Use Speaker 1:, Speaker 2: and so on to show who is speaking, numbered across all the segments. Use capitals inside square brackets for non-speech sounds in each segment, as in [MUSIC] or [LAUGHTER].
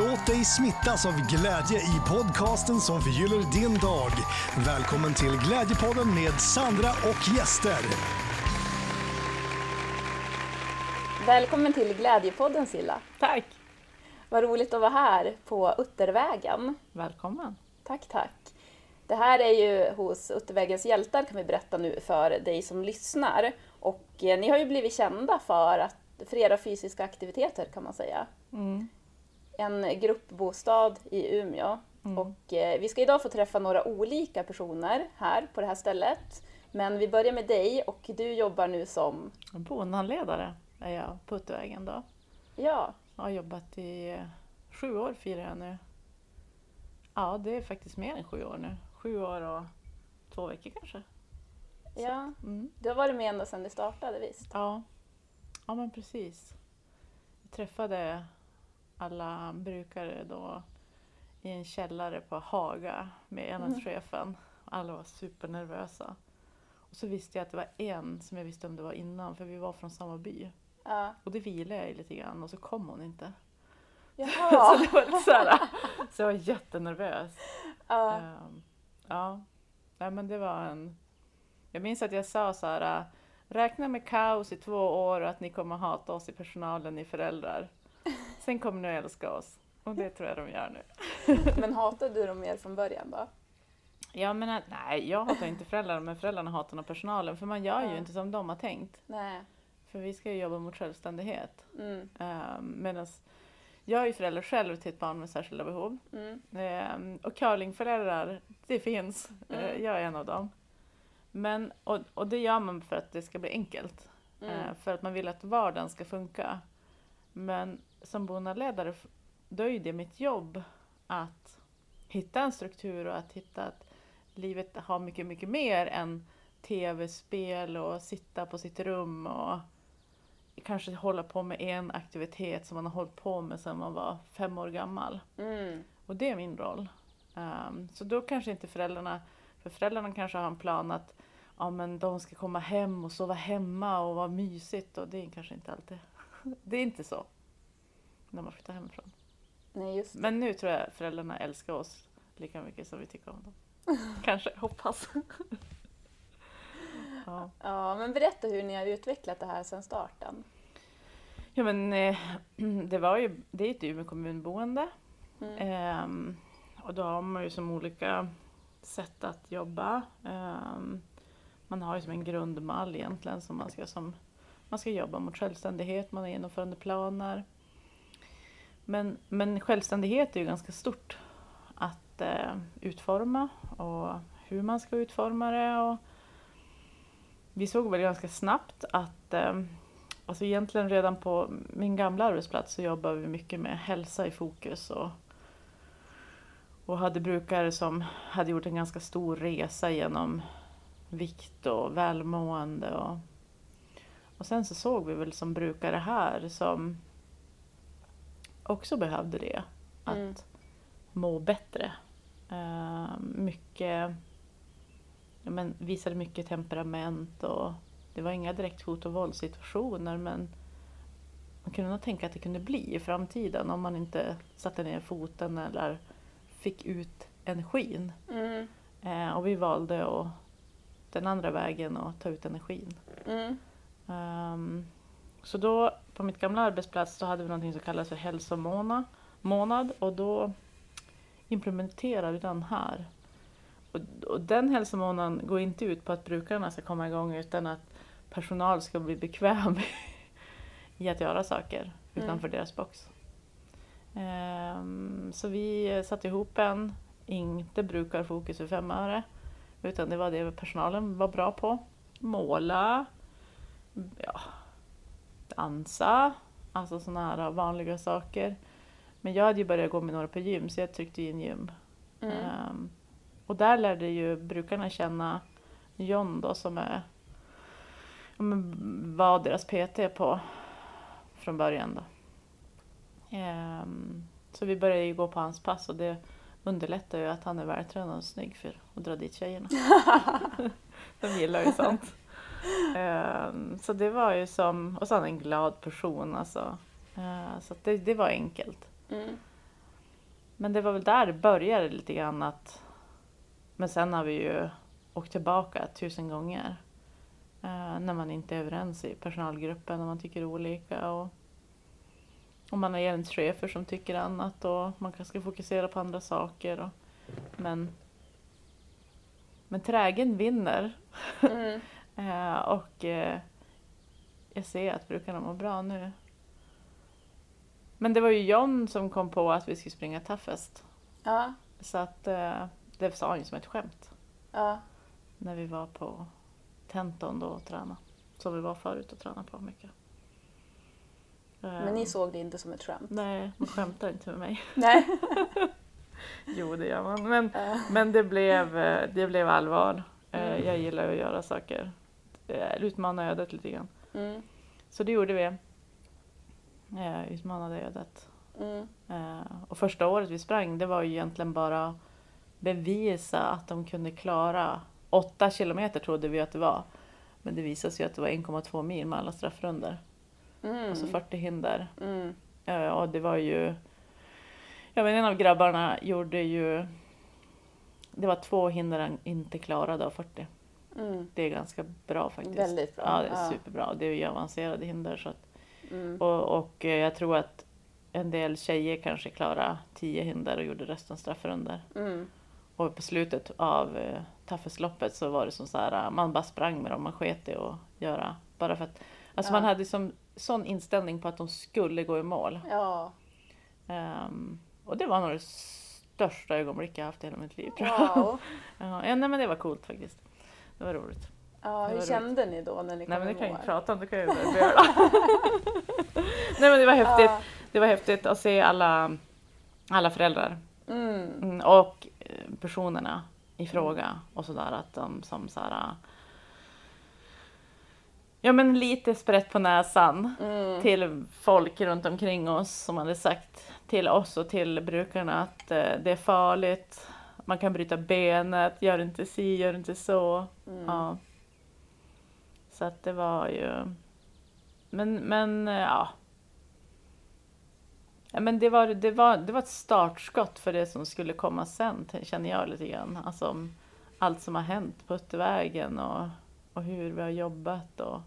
Speaker 1: Låt dig smittas av glädje i podcasten som förgyller din dag. Välkommen till Glädjepodden med Sandra och gäster.
Speaker 2: Välkommen till Glädjepodden Silla.
Speaker 3: Tack!
Speaker 2: Vad roligt att vara här på Uttervägen.
Speaker 3: Välkommen!
Speaker 2: Tack, tack. Det här är ju hos Uttervägens hjältar kan vi berätta nu för dig som lyssnar. Och eh, ni har ju blivit kända för, att, för era fysiska aktiviteter kan man säga. En gruppbostad i Umeå. Och eh, vi ska idag få träffa några olika personer här på det här stället. Men vi börjar med dig och du jobbar nu som,
Speaker 3: Boendehandledare är jag på Uttervägen då.
Speaker 2: ja,
Speaker 3: Jag har jobbat i eh, sju år firar jag nu. Ja, det är faktiskt mer än sju år nu. Sju år och två veckor kanske.
Speaker 2: ja
Speaker 3: Mm.
Speaker 2: du har varit med ända sedan det startade visst?
Speaker 3: Ja. ja, men precis. Jag träffade alla brukare då i en källare på Haga med enhetschefen. Alla var supernervösa. Och så visste jag att det var en som jag visste om det var innan för vi var från samma by.
Speaker 2: Ja.
Speaker 3: Och det vilade jag i lite grann och så kom hon inte. [LAUGHS]
Speaker 2: [LAUGHS]
Speaker 3: Så
Speaker 2: Jaha.
Speaker 3: det var lite så här, så jag var jättenervös.
Speaker 2: ja.
Speaker 3: Ehm, ja. Nej, men det var en... Jag minns att jag sa så här, äh, räkna med kaos i två år och att ni kommer hata oss i personalen, ni [LAUGHS] föräldrar. Sen kommer ni att älska oss. Och det tror jag de gör nu.
Speaker 2: Men hatade du dem mer från början då?
Speaker 3: Jag menar, nej, jag hatar inte föräldrarna, men föräldrarna hatar nog personalen. För man gör ju
Speaker 2: Ja.
Speaker 3: inte som de har tänkt.
Speaker 2: Nej.
Speaker 3: För vi ska ju jobba mot självständighet.
Speaker 2: Mm.
Speaker 3: Um, Medan jag är ju förälder själv till ett barn med särskilda behov.
Speaker 2: Mm.
Speaker 3: Ehm, och curlingföräldrar, det finns.
Speaker 2: Mm.
Speaker 3: Eh, jag är en av dem. Men, och, och det gör man för att det ska bli enkelt.
Speaker 2: Mm.
Speaker 3: Eh, för att man vill att vardagen ska funka. Men som bonaledare, då är ju det mitt jobb att hitta en struktur och att hitta att livet har mycket, mycket mer än tv-spel och sitta på sitt rum och kanske hålla på med en aktivitet som man har hållit på med sedan man var fem år gammal.
Speaker 2: Mm.
Speaker 3: Och det är min roll. Ehm, så då kanske inte föräldrarna, för föräldrarna kanske har en plan att ja, men de ska komma hem och sova hemma och vara mysigt och det är kanske inte alltid, [LAUGHS] det är inte så när man flyttar hemifrån.
Speaker 2: Nej, just
Speaker 3: Men nu tror jag föräldrarna älskar oss lika mycket som vi tycker om dem. Kanske, hoppas. ja.
Speaker 2: Ja, men berätta hur ni har utvecklat det här sedan starten.
Speaker 3: ja men eh, [CLEARS THROAT] det var ju, det är ju ett Umeå kommunboende
Speaker 2: Mm.
Speaker 3: Ehm, och då har man ju som olika sätt att jobba. Ehm, man har ju som en grundmall egentligen som man ska som man ska jobba mot självständighet, man har genomförandeplaner. Men, men självständighet är ju ganska stort att eh, utforma och hur man ska utforma det. Och vi såg väl ganska snabbt att eh, alltså egentligen redan på min gamla arbetsplats så jobbar vi mycket med hälsa i fokus och och hade brukare som hade gjort en ganska stor resa genom vikt och välmående. Och, och sen så såg vi väl som brukare här som också behövde det. Att
Speaker 2: Mm.
Speaker 3: må bättre. Eh, mycket, ja, men visade mycket temperament och det var inga direkt hot och våldssituationer men man kunde nog tänka att det kunde bli i framtiden om man inte satte ner foten eller fick ut energin.
Speaker 2: Mm.
Speaker 3: Eh, och vi valde att, den andra vägen att ta ut energin.
Speaker 2: Mm.
Speaker 3: Ehm, så då på mitt gamla arbetsplats då hade vi någonting som kallades för hälsomånad månad, och då implementerade vi den här. Och, och den hälsomånaden går inte ut på att brukarna ska komma igång utan att personal ska bli bekväm [LAUGHS] i att göra saker utanför deras box. Ehm, så vi satte ihop en, inte brukarfokus för fem öre, utan det var det personalen var bra på. Måla, ja, dansa, alltså sådana här vanliga saker. Men jag hade ju börjat gå med några på gym så jag tryckte in gym.
Speaker 2: Mm.
Speaker 3: Ehm, och där lärde ju brukarna känna John då som är, ja, men var deras PT på från början då. Ehm, så vi började ju gå på hans pass och det underlättar ju att han är vältränad och snygg för att dra dit tjejerna. De gillar ju sånt. Ehm, så det var ju som, och så han är en glad person alltså. Ehm, så att det, det var enkelt.
Speaker 2: Mm.
Speaker 3: Men det var väl där det började lite grann att... Men sen har vi ju åkt tillbaka tusen gånger. Eh, när man inte är överens i personalgruppen och man tycker olika och, och man har enhetschefer som tycker annat och man kanske ska fokusera på andra saker. Och, men, men trägen vinner.
Speaker 2: Mm.
Speaker 3: Eh, och eh, jag ser att brukarna mår bra nu. Men det var ju John som kom på att vi skulle springa Toughest.
Speaker 2: Ja,
Speaker 3: Så att eh, det sa han ju som ett skämt
Speaker 2: ja,
Speaker 3: när vi var på Tenton då och tränade. Som vi var förut och tränade på mycket. Eh,
Speaker 2: men ni såg det inte som ett skämt.
Speaker 3: Nej, man skämtar inte med mig.
Speaker 2: Nej.
Speaker 3: [LAUGHS] Jo, det gör man. Men, men det, blev, eh, det blev allvar. Eh,
Speaker 2: Mm.
Speaker 3: Jag gillar ju att göra saker. Eh, Utmana ödet lite grann.
Speaker 2: Mm,
Speaker 3: Så det gjorde vi. Eh, Utmanade ödet.
Speaker 2: mm,
Speaker 3: Eh, Och första året vi sprang, det var ju egentligen bara bevisa att de kunde klara 8 kilometer trodde vi att det var. Men det visade sig ju att det var 1,2 mil med alla straffrunder.
Speaker 2: mm,
Speaker 3: Och så 40 hinder.
Speaker 2: mm,
Speaker 3: Eh, Och det var ju... Ja, men en av grabbarna gjorde ju... Det var två hinder han inte klarade av 40.
Speaker 2: mm,
Speaker 3: Det är ganska bra faktiskt.
Speaker 2: Väldigt bra,
Speaker 3: Ja, det är
Speaker 2: ja.
Speaker 3: superbra. Det är ju avancerade hinder. Så att
Speaker 2: mm.
Speaker 3: och, och eh, jag tror att en del tjejer kanske klarade 10 hinder och gjorde resten straffrunder.
Speaker 2: mm.
Speaker 3: Och på slutet av eh, Taffesloppet så var det som så här, eh, man bara sprang med dem, man sket i att göra. Bara för att, alltså man hade som sån inställning på att de skulle gå i mål.
Speaker 2: [LAUGHS] Ja,
Speaker 3: Ehm, och det var nog det största ögonblick jag haft i hela mitt liv tror jag.
Speaker 2: wow.
Speaker 3: [LAUGHS] Ja, nej men det var coolt faktiskt. Det var roligt.
Speaker 2: Ja,
Speaker 3: Det
Speaker 2: hur
Speaker 3: var
Speaker 2: kände ni då när ni kom
Speaker 3: Nej men det
Speaker 2: i
Speaker 3: kan jag
Speaker 2: mål?
Speaker 3: inte prata om, det kan jag ju
Speaker 2: [LAUGHS]
Speaker 3: börja göra. Nej men det var
Speaker 2: Ah.
Speaker 3: häftigt.
Speaker 2: Ja.
Speaker 3: Det var häftigt att se alla, alla föräldrar
Speaker 2: Mm,
Speaker 3: Mm, och eh, personerna i fråga och sådär att de som såhär Ja men lite sprätt på näsan
Speaker 2: mm,
Speaker 3: till folk runt omkring oss som hade sagt till oss och till brukarna att eh, det är farligt, man kan bryta benet, gör inte si, gör inte så.
Speaker 2: Mm.
Speaker 3: Ja. Så att det var ju... Men, men eh, ja. ja men det, var, det, var, det var ett startskott för det som skulle komma sen, t- känner jag lite grann. Alltså om allt som har hänt på Uttervägen och, och hur vi har jobbat. Och...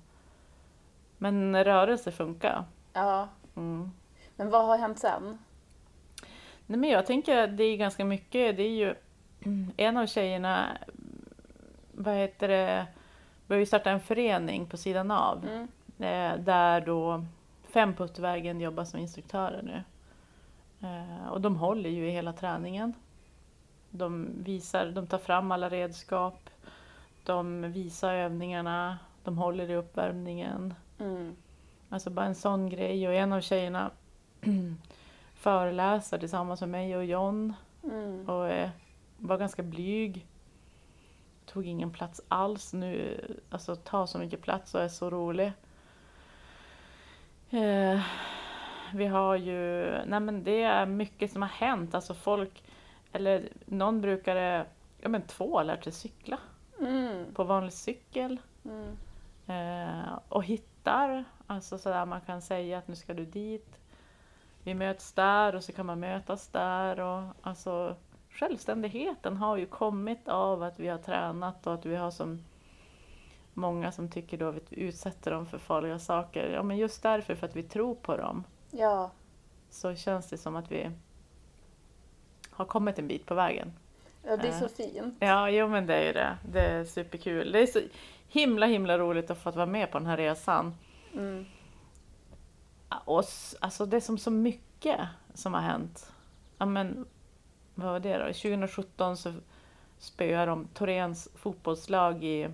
Speaker 3: Men rörelse funkar.
Speaker 2: ja.
Speaker 3: Mm.
Speaker 2: Men vad har hänt sen?
Speaker 3: Nej, men jag tänker att det är ganska mycket. Det är ju [CLEARS THROAT] en av tjejerna, vad heter det, började ju starta en förening på sidan av.
Speaker 2: Mm.
Speaker 3: Eh, Där då fem på Uttervägen jobbar som instruktörer nu. Eh, Och de håller ju i hela träningen. De visar, de tar fram alla redskap. De visar övningarna. De håller i uppvärmningen.
Speaker 2: Mm.
Speaker 3: Alltså bara en sån grej. Och en av tjejerna föreläser tillsammans med mig och John
Speaker 2: Mm.
Speaker 3: och eh, var ganska blyg. Tog ingen plats alls nu, alltså tar så mycket plats och är så rolig. Eh, vi har ju, nej men det är mycket som har hänt, alltså folk, eller någon brukare, ja men två har lärt sig cykla
Speaker 2: Mm.
Speaker 3: på vanlig cykel.
Speaker 2: Mm.
Speaker 3: Eh, och hittar, alltså sådär man kan säga att nu ska du dit. Vi möts där och så kan man mötas där. Och, alltså, självständigheten har ju kommit av att vi har tränat och att vi har som många som tycker då att vi utsätter dem för farliga saker. Ja, men just därför, för att vi tror på dem,
Speaker 2: Ja,
Speaker 3: så känns det som att vi har kommit en bit på vägen.
Speaker 2: ja, det är så
Speaker 3: Äh.
Speaker 2: fint.
Speaker 3: Ja, jo men det är ju det. Det är superkul. Det är så himla, himla roligt att få vara med på den här resan.
Speaker 2: Mm.
Speaker 3: Och, s- alltså det är som så mycket som har hänt. Ja, men, vad var det då? 2017 så spöade de Torens fotbollslag i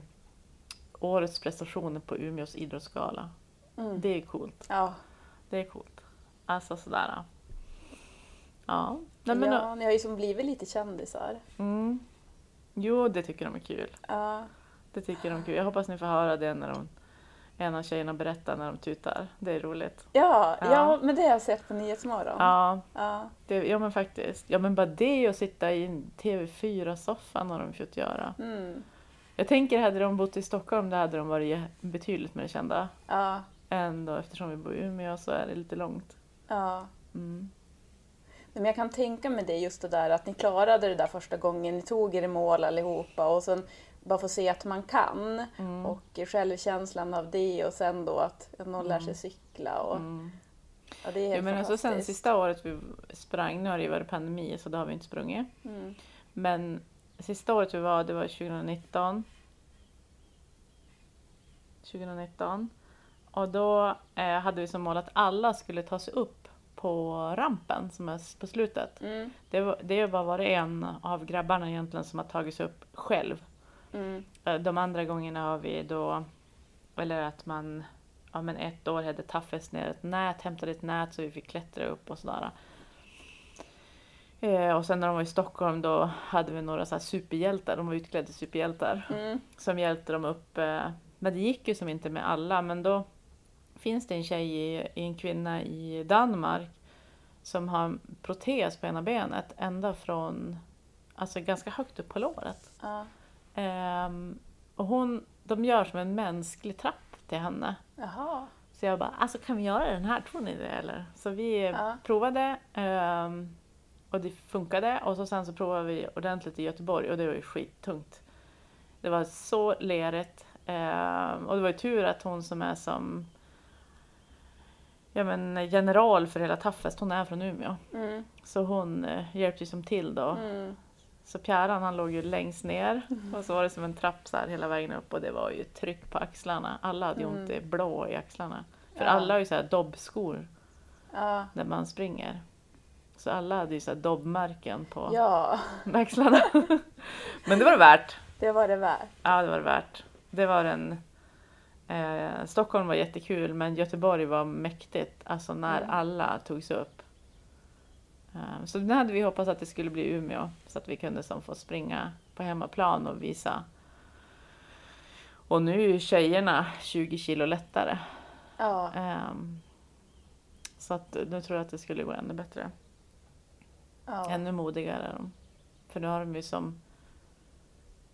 Speaker 3: årets prestationer på Umeås idrottsgala.
Speaker 2: Mm.
Speaker 3: Det är coolt.
Speaker 2: Ja,
Speaker 3: Det är coolt. Alltså sådär. ja. Ja. Nej, men,
Speaker 2: ja, ni har ju som blivit lite kändisar.
Speaker 3: mm. Jo, det tycker de är kul.
Speaker 2: Ja,
Speaker 3: Det tycker de är kul. Jag hoppas ni får höra det när de, en av tjejerna berättar när de tutar. Det är roligt.
Speaker 2: ja,
Speaker 3: Ja.
Speaker 2: ja men det har jag sett på Nyhetsmorgon.
Speaker 3: Ja,
Speaker 2: Ja.
Speaker 3: det, ja men faktiskt. Ja men bara det att sitta i en TV4-soffan har de fått göra.
Speaker 2: Mm.
Speaker 3: Jag tänker hade de bott i Stockholm då hade de varit jä- betydligt mer kända.
Speaker 2: ja,
Speaker 3: Ändå eftersom vi bor i Umeå så är det lite långt.
Speaker 2: ja.
Speaker 3: Mm.
Speaker 2: Men jag kan tänka mig det just det där att ni klarade det där första gången, ni tog er i mål allihopa och sen bara få se att man kan
Speaker 3: Mm.
Speaker 2: och självkänslan av det och sen då att någon lär sig cykla. Och, ja, det är helt
Speaker 3: Mm. Ja, men alltså
Speaker 2: fantastiskt.
Speaker 3: sen sista året vi sprang, nu har det ju varit pandemi så då har vi inte sprungit.
Speaker 2: Mm.
Speaker 3: Men sista året vi var, det var 2019. 2019. Och då eh, hade vi som mål att alla skulle ta sig upp på rampen som är s- på slutet.
Speaker 2: Mm,
Speaker 3: Det, var, det har bara varit en av grabbarna egentligen som har tagit sig upp själv.
Speaker 2: mm,
Speaker 3: Eh, De andra gångerna har vi då, eller att man, ja men ett år hade Taffes ner ett nät, hämtade ett nät så vi fick klättra upp och sådär. Eh, och sen när de var i Stockholm då hade vi några så här superhjältar, de var utklädda till superhjältar,
Speaker 2: mm,
Speaker 3: som hjälpte dem upp. Eh, men det gick ju som inte med alla, men då finns det en tjej, i, i en kvinna i Danmark som har en protes på ena benet ända från, alltså ganska högt upp på låret.
Speaker 2: ja,
Speaker 3: Ehm, och hon, de gör som en mänsklig trapp till henne.
Speaker 2: jaha,
Speaker 3: Så jag bara, alltså kan vi göra den här, tror ni det eller? Så vi
Speaker 2: Ja.
Speaker 3: provade ehm, och det funkade och så sen så provade vi ordentligt i Göteborg och det var ju skittungt. Det var så lerigt ehm, och det var ju tur att hon som är som ja, men eh, general för hela Taffest, hon är från Umeå.
Speaker 2: mm,
Speaker 3: Så hon eh, hjälpte ju som till då.
Speaker 2: mm,
Speaker 3: Så Pjäran han låg ju längst ner och så var det som en trapp så här hela vägen upp och det var ju tryck på axlarna. Alla hade ju ont i blå i axlarna. För
Speaker 2: Mm. Ja.
Speaker 3: alla har ju så här dobbskor
Speaker 2: ja,
Speaker 3: när man springer. Så alla hade ju så här dobbmärken på
Speaker 2: ja,
Speaker 3: [LAUGHS] axlarna. Men det var det värt.
Speaker 2: det var det värt.
Speaker 3: Ja, det var det värt. Det var en... Eh, Stockholm var jättekul men Göteborg var mäktigt. Alltså när
Speaker 2: Mm.
Speaker 3: alla togs upp. Eh, så nu hade vi hoppats att det skulle bli Umeå så att vi kunde som få springa på hemmaplan och visa. Och nu är ju tjejerna 20 kilo lättare.
Speaker 2: Ja.
Speaker 3: Ehm, så att nu tror jag att det skulle gå ännu bättre.
Speaker 2: Ja.
Speaker 3: Ännu modigare är de. För nu har de ju som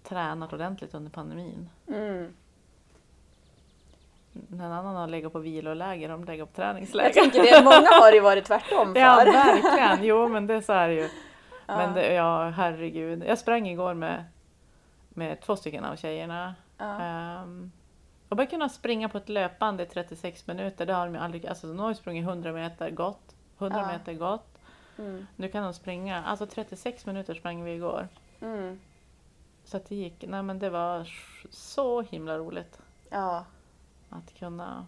Speaker 3: tränat ordentligt under pandemin.
Speaker 2: Mm.
Speaker 3: När en annan har legat på viloläger, de lägger på
Speaker 2: Jag
Speaker 3: träningsläger. [LAUGHS]
Speaker 2: tänker det, många har det ju varit tvärtom för.
Speaker 3: Ja, verkligen. Jo, men det är så här ju.
Speaker 2: Ja.
Speaker 3: Men det, ja, herregud. Jag sprang igår med, med två stycken av tjejerna.
Speaker 2: Ja.
Speaker 3: Ehm, och bara kunna springa på ett löpande i 36 minuter, det har de ju aldrig... Alltså, de har ju sprungit 100 meter gott, 100
Speaker 2: Ja.
Speaker 3: meter gott.
Speaker 2: Mm.
Speaker 3: Nu kan de springa. Alltså 36 minuter sprang vi igår.
Speaker 2: Mm.
Speaker 3: Så att det gick. Nej, men det var så himla roligt.
Speaker 2: Ja.
Speaker 3: Att kunna...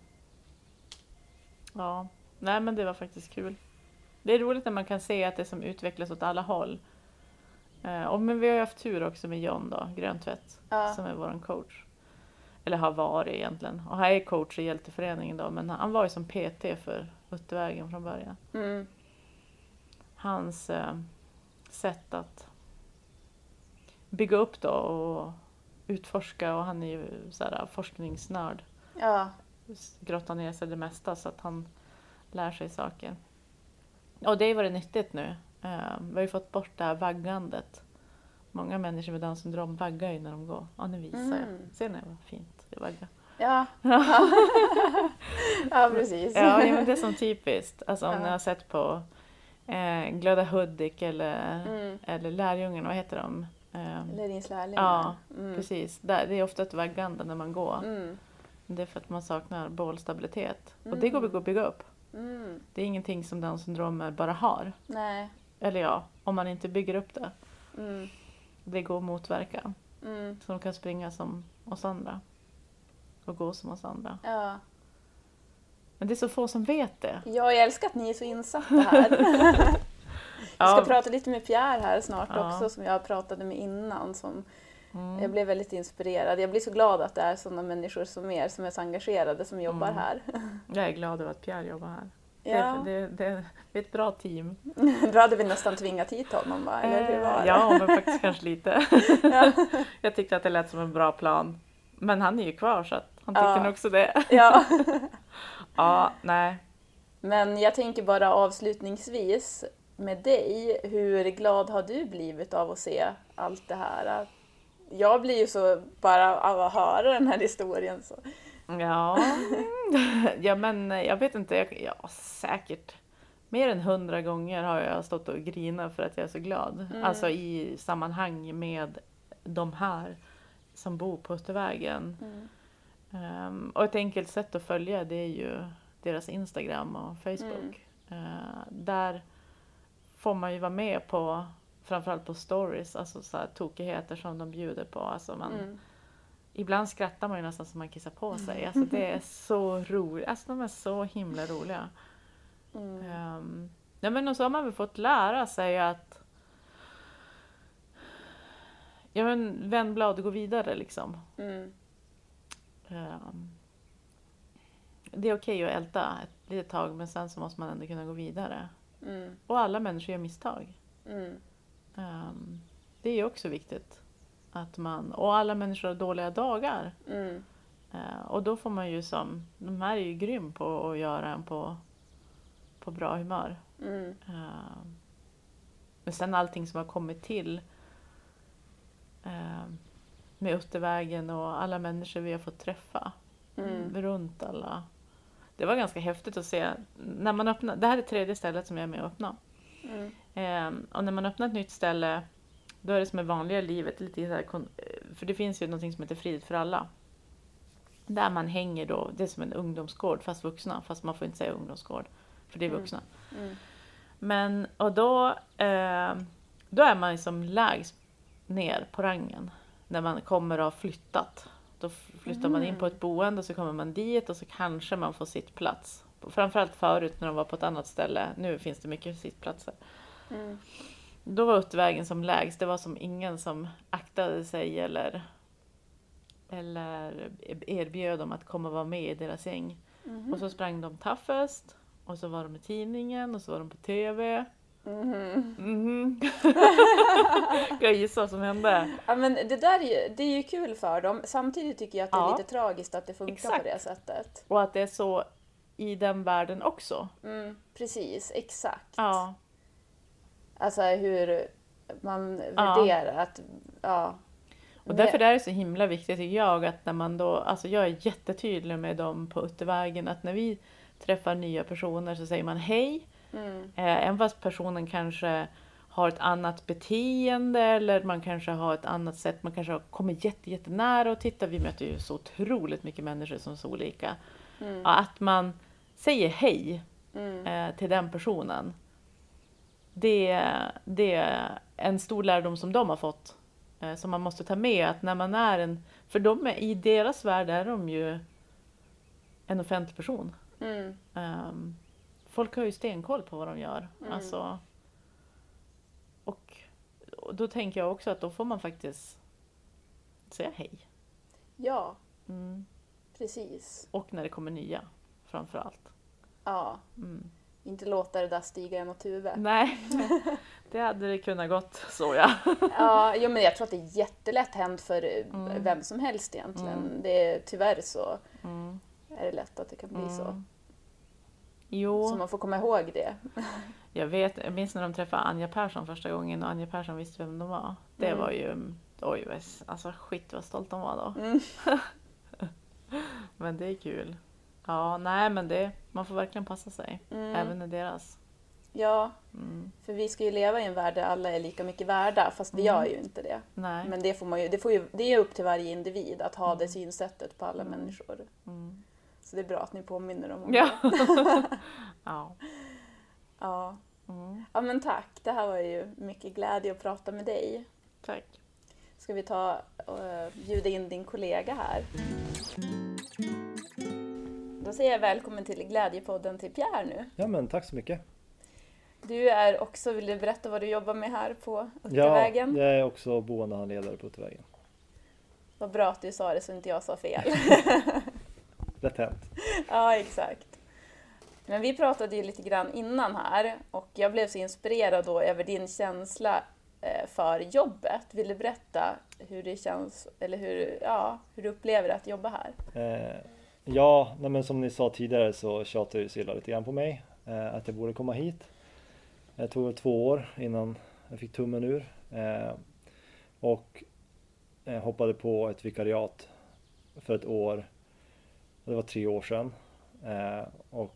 Speaker 3: Ja, nej men det var faktiskt kul. Det är roligt när man kan se att det som utvecklas åt alla håll. Eh, och men vi har ju haft tur också med John då, Gröntvätt,
Speaker 2: Ja.
Speaker 3: som är vår coach. Eller har varit egentligen. Och han är coach i Hjälteföreningen då, men han var ju som PT för Uttervägen från början.
Speaker 2: Mm.
Speaker 3: Hans eh, sätt att bygga upp då och utforska och han är ju så här, forskningsnörd
Speaker 2: Ja.
Speaker 3: grotta ner sig det mesta så att han lär sig saker. Och det har ju varit nyttigt nu. Eh, Vi har ju fått bort det här vaggandet. Många människor med Downs syndrom vaggar ju när de går. Ja, nu visar
Speaker 2: Mm.
Speaker 3: jag. Ser ni vad fint det vaggar?
Speaker 2: Ja. ja, [LAUGHS] precis.
Speaker 3: [LAUGHS] Ja, ja, men det är som typiskt. Alltså om
Speaker 2: Ja.
Speaker 3: ni har sett på eh, Glada Hudik eller,
Speaker 2: Mm.
Speaker 3: eller Lärjungen, vad heter de? Eh,
Speaker 2: Eller din slärling.
Speaker 3: Ja,
Speaker 2: mm.
Speaker 3: Precis, där, det är ofta ett vaggande när man går.
Speaker 2: Mm.
Speaker 3: Det är för att man saknar bålstabilitet. Och det går att bygga upp.
Speaker 2: Mm.
Speaker 3: Det är ingenting som Downs syndrom bara har.
Speaker 2: Nej.
Speaker 3: Eller ja, om man inte bygger upp det.
Speaker 2: Mm.
Speaker 3: Det går att motverka.
Speaker 2: Mm.
Speaker 3: Så de kan springa som oss andra. Och gå som oss andra.
Speaker 2: Ja.
Speaker 3: Men det är så få som vet det.
Speaker 2: ja, jag älskar att ni är så insatta
Speaker 3: [LAUGHS]
Speaker 2: här. Jag ska prata lite med Pierre här snart
Speaker 3: Ja.
Speaker 2: också som jag pratade med innan. Som
Speaker 3: Mm.
Speaker 2: Jag blev väldigt inspirerad. Jag blir så glad att det är sådana människor som er som är så engagerade som jobbar
Speaker 3: Mm.
Speaker 2: här.
Speaker 3: Jag är glad över att Pierre jobbar här.
Speaker 2: Ja.
Speaker 3: Det, det, det, det är ett bra team.
Speaker 2: Då hade vi nästan tvingat hit honom va? Eller hur var det?
Speaker 3: Eh, ja, men faktiskt kanske lite.
Speaker 2: [LAUGHS] Ja.
Speaker 3: [LAUGHS] Jag tyckte att det lät som en bra plan. Men han är ju kvar så att han tyckte
Speaker 2: Ja.
Speaker 3: nog också det.
Speaker 2: ja.
Speaker 3: Ja, nej.
Speaker 2: Men jag tänker bara avslutningsvis med dig, hur glad har du blivit av att se allt det här? Jag blir ju så bara av att höra den här historien. Så.
Speaker 3: [LAUGHS] Ja, ja men jag vet inte. Jag, ja, säkert mer än hundra gånger har jag stått och grinat för att jag är så glad. Alltså i sammanhang med de här som bor på Östervägen. Ehm, och ett enkelt sätt att följa det är ju deras Instagram och Facebook. Eh, där får man ju vara med på framförallt på stories, alltså så här tokigheter som de bjuder på. Alltså man,
Speaker 2: Mm.
Speaker 3: Ibland skrattar man ju nästan så man kissar
Speaker 2: [LAUGHS]
Speaker 3: på sig. Alltså det är så roligt. Alltså de är så himla roliga.
Speaker 2: Mm.
Speaker 3: Um, nej men och så har man väl fått lära sig att ja men vänd blad och gå vidare liksom.
Speaker 2: Mm.
Speaker 3: Ehm, det är okej att älta ett litet tag men sen så måste man ändå kunna gå vidare.
Speaker 2: Mm.
Speaker 3: Och alla människor gör misstag.
Speaker 2: Mm.
Speaker 3: Ehm, det är ju också viktigt. Att man, och alla människor har dåliga dagar.
Speaker 2: Mm.
Speaker 3: Eh, och då får man ju som, de här är ju grym på att göra en på, på bra humör.
Speaker 2: Mm.
Speaker 3: Eh, men sen allting som har kommit till eh, med Uttervägen och alla människor vi har fått träffa
Speaker 2: Mm.
Speaker 3: runt alla. Det var ganska häftigt att se. När man öppnar, det här är tredje stället som jag är med och öppnar.
Speaker 2: Mm.
Speaker 3: Ehm, och när man öppnar ett nytt ställe, då är det som i vanliga livet, lite så här, kon- eh, för det finns ju någonting som heter Frid för alla. Där man hänger då, det är som en ungdomsgård fast vuxna, fast man får inte säga ungdomsgård, för det är
Speaker 2: Mm.
Speaker 3: vuxna.
Speaker 2: Mm.
Speaker 3: Men, och då, ehm, då är man ju som lägst ner på rangen när man kommer och har flyttat. Då f- flyttar man in på ett boende och så kommer man dit och så kanske man får sittplats. Framförallt förut när de var på ett annat ställe, nu finns det mycket sittplatser.
Speaker 2: Mm.
Speaker 3: Då var Uttervägen som lägst, det var som ingen som aktade sig eller, eller erbjöd dem att komma och vara med i deras gäng. Och så sprang de taffest, och så var de i tidningen, och så var de på TV.
Speaker 2: Mhm.
Speaker 3: [LAUGHS] Mhm. Kan jag gissa vad som hände?
Speaker 2: Ja, men det där är ju, det är ju kul för dem. Samtidigt tycker jag att det är
Speaker 3: Ja.
Speaker 2: lite tragiskt att det funkar
Speaker 3: Exakt.
Speaker 2: på det sättet.
Speaker 3: Och att det är så i den världen också.
Speaker 2: Mm, precis, exakt.
Speaker 3: Ja,
Speaker 2: Alltså hur man
Speaker 3: Ja.
Speaker 2: värderar att... Ja.
Speaker 3: och därför är det så himla viktigt tycker jag att när man då, alltså jag är jättetydlig med dem på Uttervägen att när vi träffar nya personer så säger man hej,
Speaker 2: Mm,
Speaker 3: Eh, Även fast personen kanske har ett annat beteende eller man kanske har ett annat sätt, man kanske har- kommer jätte, jättenära och titta, vi möter ju så otroligt mycket människor som är så olika.
Speaker 2: Mm.
Speaker 3: Ja, Att man säger hej
Speaker 2: mm,
Speaker 3: eh, till den personen, det, det är en stor lärdom som de har fått, eh, som man måste ta med att när man är en, för de är, i deras värld är de ju en offentlig person.
Speaker 2: mm,
Speaker 3: Ehm, folk har ju stenkoll på vad de gör.
Speaker 2: Mm.
Speaker 3: Alltså, och, och då tänker jag också att då får man faktiskt säga hej.
Speaker 2: ja,
Speaker 3: Mm.
Speaker 2: precis.
Speaker 3: Och när det kommer nya, framför allt.
Speaker 2: Ja.
Speaker 3: Mm.
Speaker 2: Inte låta det där stiga en åt huvudet. [LAUGHS]
Speaker 3: Nej, [LAUGHS] det hade det kunnat gått så ja.
Speaker 2: Ja, jo, men jag tror att det är jättelätt hänt för eh, vem som helst egentligen. Det är, tyvärr så
Speaker 3: Mm.
Speaker 2: är det lätt att det kan bli så.
Speaker 3: Mm. Jo.
Speaker 2: Så man får komma ihåg det.
Speaker 3: Jag, vet, jag minns när de träffade Anja Persson första gången och Anja Persson visste vem de var. Det
Speaker 2: Mm.
Speaker 3: var ju, oj vad- alltså skit vad stolt de var då.
Speaker 2: Mm.
Speaker 3: [LAUGHS] men det är kul. Ja, nej men det, man får verkligen passa sig.
Speaker 2: Mm.
Speaker 3: Även i deras.
Speaker 2: Ja,
Speaker 3: Mm.
Speaker 2: för vi ska ju leva i en värld där alla är lika mycket värda, fast vi gör ju inte det.
Speaker 3: Mm. Nej.
Speaker 2: Men det, får man ju, det, får ju, det är upp till varje individ att ha det synsättet på alla människor.
Speaker 3: Mm.
Speaker 2: Så det är bra att ni påminner om [LAUGHS] det.
Speaker 3: [LAUGHS] Ja. ja.
Speaker 2: Ja.
Speaker 3: Mm.
Speaker 2: ja, men tack. Det här var ju mycket glädje att prata med dig.
Speaker 3: Tack.
Speaker 2: Ska vi ta och bjuda in din kollega här? Då säger jag välkommen till Glädjepodden till Pierre nu.
Speaker 4: Ja men tack så mycket.
Speaker 2: Du är också, vill du berätta vad du jobbar med här på
Speaker 4: Ja,
Speaker 2: Uttervägen?
Speaker 4: jag är också boendehandledare på Uttervägen.
Speaker 2: Vad bra att du sa det så inte jag sa fel. [LAUGHS]
Speaker 4: Lätt hänt.
Speaker 2: ja, exakt. Men vi pratade ju lite grann innan här och jag blev så inspirerad då över din känsla eh, för jobbet. Vill du berätta hur det känns, eller hur, ja, hur du upplever att jobba här?
Speaker 4: Eh, ja, nej, men som ni sa tidigare så tjatar ju Silla lite grann på mig eh, att jag borde komma hit. Jag tog väl två år innan jag fick tummen ur eh, och eh, hoppade på ett vikariat för ett år. Det var tre år sedan eh, och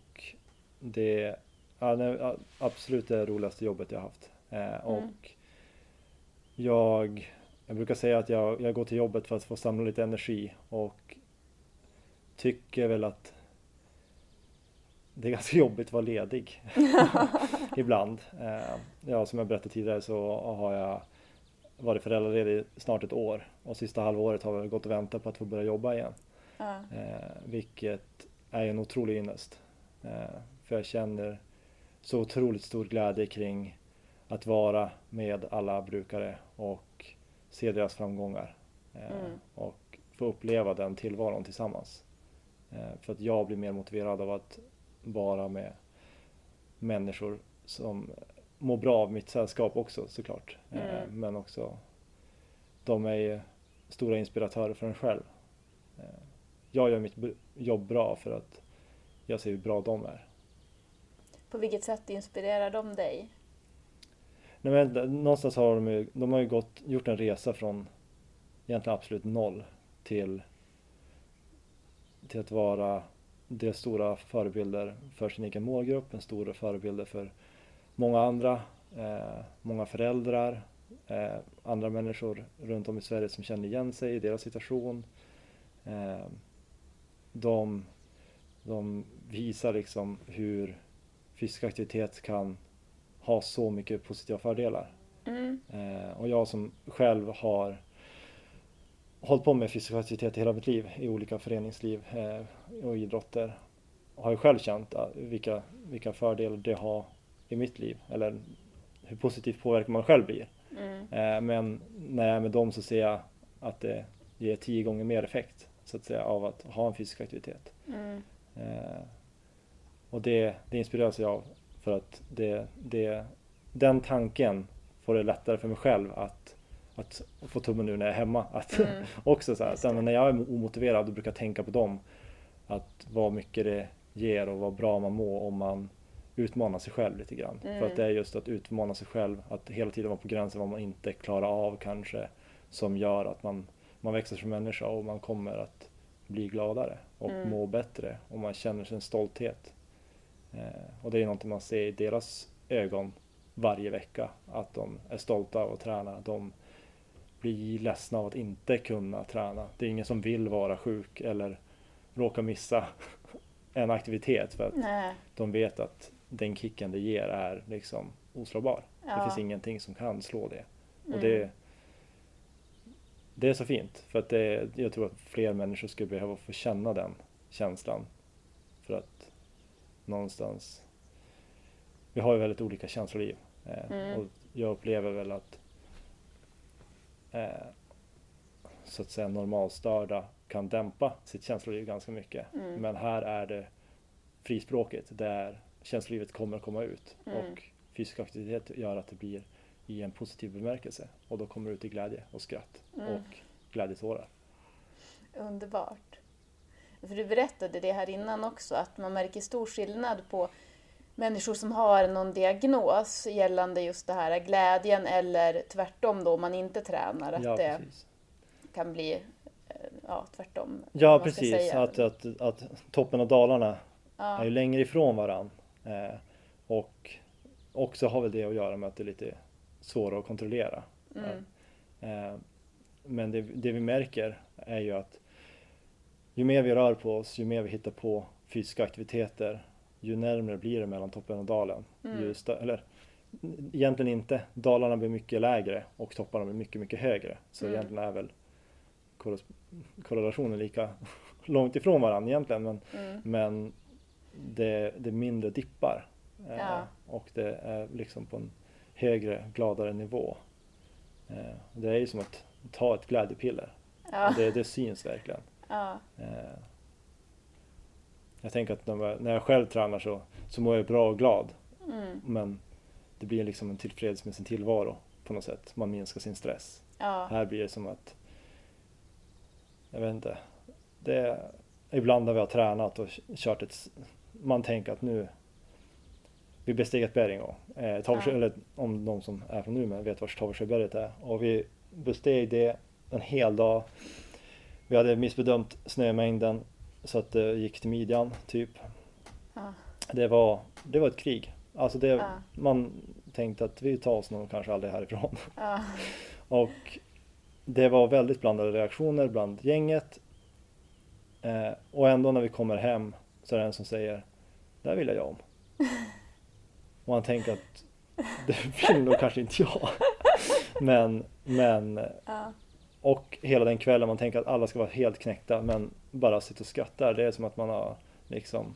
Speaker 4: det ja, nej, a- absolut det roligaste jobbet jag haft. Eh, och jag, jag brukar säga att jag, jag går till jobbet för att få samla lite energi och tycker väl att det är ganska jobbigt att vara ledig ibland. Eh, ja, som jag berättade tidigare så har jag varit föräldraledig snart ett år och sista halvåret har jag gått och väntat på att få börja jobba igen.
Speaker 2: Ja.
Speaker 4: Eh, vilket är en otrolig ynnest. Eh, för jag känner så otroligt stor glädje kring att vara med alla brukare och se deras framgångar. Eh,
Speaker 2: Mm.
Speaker 4: Och få uppleva den tillvaron tillsammans. Eh, för att jag blir mer motiverad av att vara med människor som mår bra av mitt sällskap också såklart. Eh,
Speaker 2: Mm.
Speaker 4: men också de är ju stora inspiratörer för en själv. Eh, jag gör mitt b- jobb bra för att jag ser hur bra de är.
Speaker 2: På vilket sätt inspirerar de dig?
Speaker 4: Nej, men d- någonstans har de ju, de har ju gått, gjort en resa från egentligen absolut noll till, till att vara dels stora förebilder för sin egen målgrupp, en stora förebilder för många andra, eh, många föräldrar, eh, andra människor runt om i Sverige som känner igen sig i deras situation. Eh, de, de visar liksom hur fysisk aktivitet kan ha så mycket positiva fördelar.
Speaker 2: Mm.
Speaker 4: Eh, och jag som själv har hållit på med fysisk aktivitet i hela mitt liv i olika föreningsliv eh, och idrotter har ju själv känt eh, vilka, vilka fördelar det har i mitt liv eller hur positivt påverkad man själv blir.
Speaker 2: Mm.
Speaker 4: Eh, men när jag är med dem så ser jag att det ger tio gånger mer effekt så att säga av att ha en fysisk aktivitet.
Speaker 2: Mm.
Speaker 4: Eh, och det, det inspireras jag av för att det, det, den tanken får det lättare för mig själv att, att få tummen nu när jag är hemma. Att
Speaker 2: Mm.
Speaker 4: [LAUGHS] också så här,
Speaker 2: Just
Speaker 4: sen
Speaker 2: det.
Speaker 4: när jag är omotiverad då brukar jag tänka på dem. Att vad mycket det ger och vad bra man mår om man utmanar sig själv lite grann.
Speaker 2: Mm.
Speaker 4: För att det är just att utmana sig själv, att hela tiden vara på gränsen vad man inte klarar av kanske som gör att man, man växer som människa och man kommer att bli gladare och
Speaker 2: Mm.
Speaker 4: må bättre och man känner sin stolthet. Eh, och det är någonting man ser i deras ögon varje vecka, att de är stolta av att träna. De blir ledsna av att inte kunna träna. Det är ingen som vill vara sjuk eller råka missa [LAUGHS] en aktivitet för att
Speaker 2: Nej.
Speaker 4: de vet att den kicken det ger är liksom oslagbar. Det
Speaker 2: Ja.
Speaker 4: finns ingenting som kan slå det. Och
Speaker 2: Mm.
Speaker 4: det, det är så fint. För att det, jag tror att fler människor skulle behöva få känna den känslan. För att någonstans, vi har ju väldigt olika känsloliv. Eh,
Speaker 2: Mm.
Speaker 4: Och jag upplever väl att eh, så att säga normalstörda kan dämpa sitt känsloliv ganska mycket.
Speaker 2: Mm.
Speaker 4: Men här är det frispråket där känslolivet kommer att komma ut
Speaker 2: Mm.
Speaker 4: och fysisk aktivitet gör att det blir i en positiv bemärkelse och då kommer det ut i glädje och skratt
Speaker 2: Mm.
Speaker 4: och glädjetårar.
Speaker 2: Underbart. För du berättade det här innan också, att man märker stor skillnad på människor som har någon diagnos gällande just det här glädjen eller tvärtom då om man inte tränar, att
Speaker 4: Ja,
Speaker 2: det
Speaker 4: precis.
Speaker 2: kan bli eh, ja, tvärtom.
Speaker 4: Ja,
Speaker 2: vad man ska
Speaker 4: precis.
Speaker 2: säga.
Speaker 4: Att, att, att toppen och dalarna är
Speaker 2: ja.
Speaker 4: ju längre ifrån varann. Eh, och också har väl det att göra med att det är lite svårare att kontrollera.
Speaker 2: Mm.
Speaker 4: Eh, Men det, det vi märker är ju att ju mer vi rör på oss, ju mer vi hittar på fysiska aktiviteter, ju närmare blir det mellan toppen och dalen.
Speaker 2: Mm.
Speaker 4: Ju stö- eller, egentligen inte, dalarna blir mycket lägre och topparna blir mycket, mycket högre. Så
Speaker 2: Mm.
Speaker 4: egentligen är väl korres- korrelationen lika [LAUGHS] långt ifrån varandra egentligen. Men,
Speaker 2: Mm.
Speaker 4: men det, det är mindre dippar eh,
Speaker 2: Ja.
Speaker 4: och det är liksom på en högre, gladare nivå. Eh, det är ju som att ta ett glädjepiller.
Speaker 2: Ja.
Speaker 4: Det, det syns verkligen.
Speaker 2: Ja.
Speaker 4: Eh, jag tänker att när jag- när jag själv tränar så, så mår jag bra och glad.
Speaker 2: Mm.
Speaker 4: Men det blir liksom en tillfreds med sin tillvaro på något sätt. Man minskar sin stress.
Speaker 2: Ja.
Speaker 4: Här blir det som att... Jag vet inte. Det, ibland när vi har tränat och kört ett... s- Man tänker att nu... Vi besteg ett berg en gång. Eh, Tavelsjö,
Speaker 2: Ja.
Speaker 4: Eller om de som är från Umeå vet var Tavelsjöberget är. Och vi besteg det en hel dag. Vi hade missbedömt snömängden så att det gick till midjan typ.
Speaker 2: Ja.
Speaker 4: Det var, det var ett krig. Alltså det,
Speaker 2: Ja.
Speaker 4: man tänkte att vi tar oss nog kanske aldrig härifrån.
Speaker 2: Ja.
Speaker 4: [LAUGHS] Och det var väldigt blandade reaktioner bland gänget. Eh, och ändå när vi kommer hem så är det en som säger Det här vill jag
Speaker 2: [LAUGHS]
Speaker 4: göra om. Och han tänker att det vill nog kanske inte jag. [LAUGHS] Men, men
Speaker 2: Ja.
Speaker 4: och hela den kvällen man tänker att alla ska vara helt knäckta men bara sitter och skrattar. Det är som att man har liksom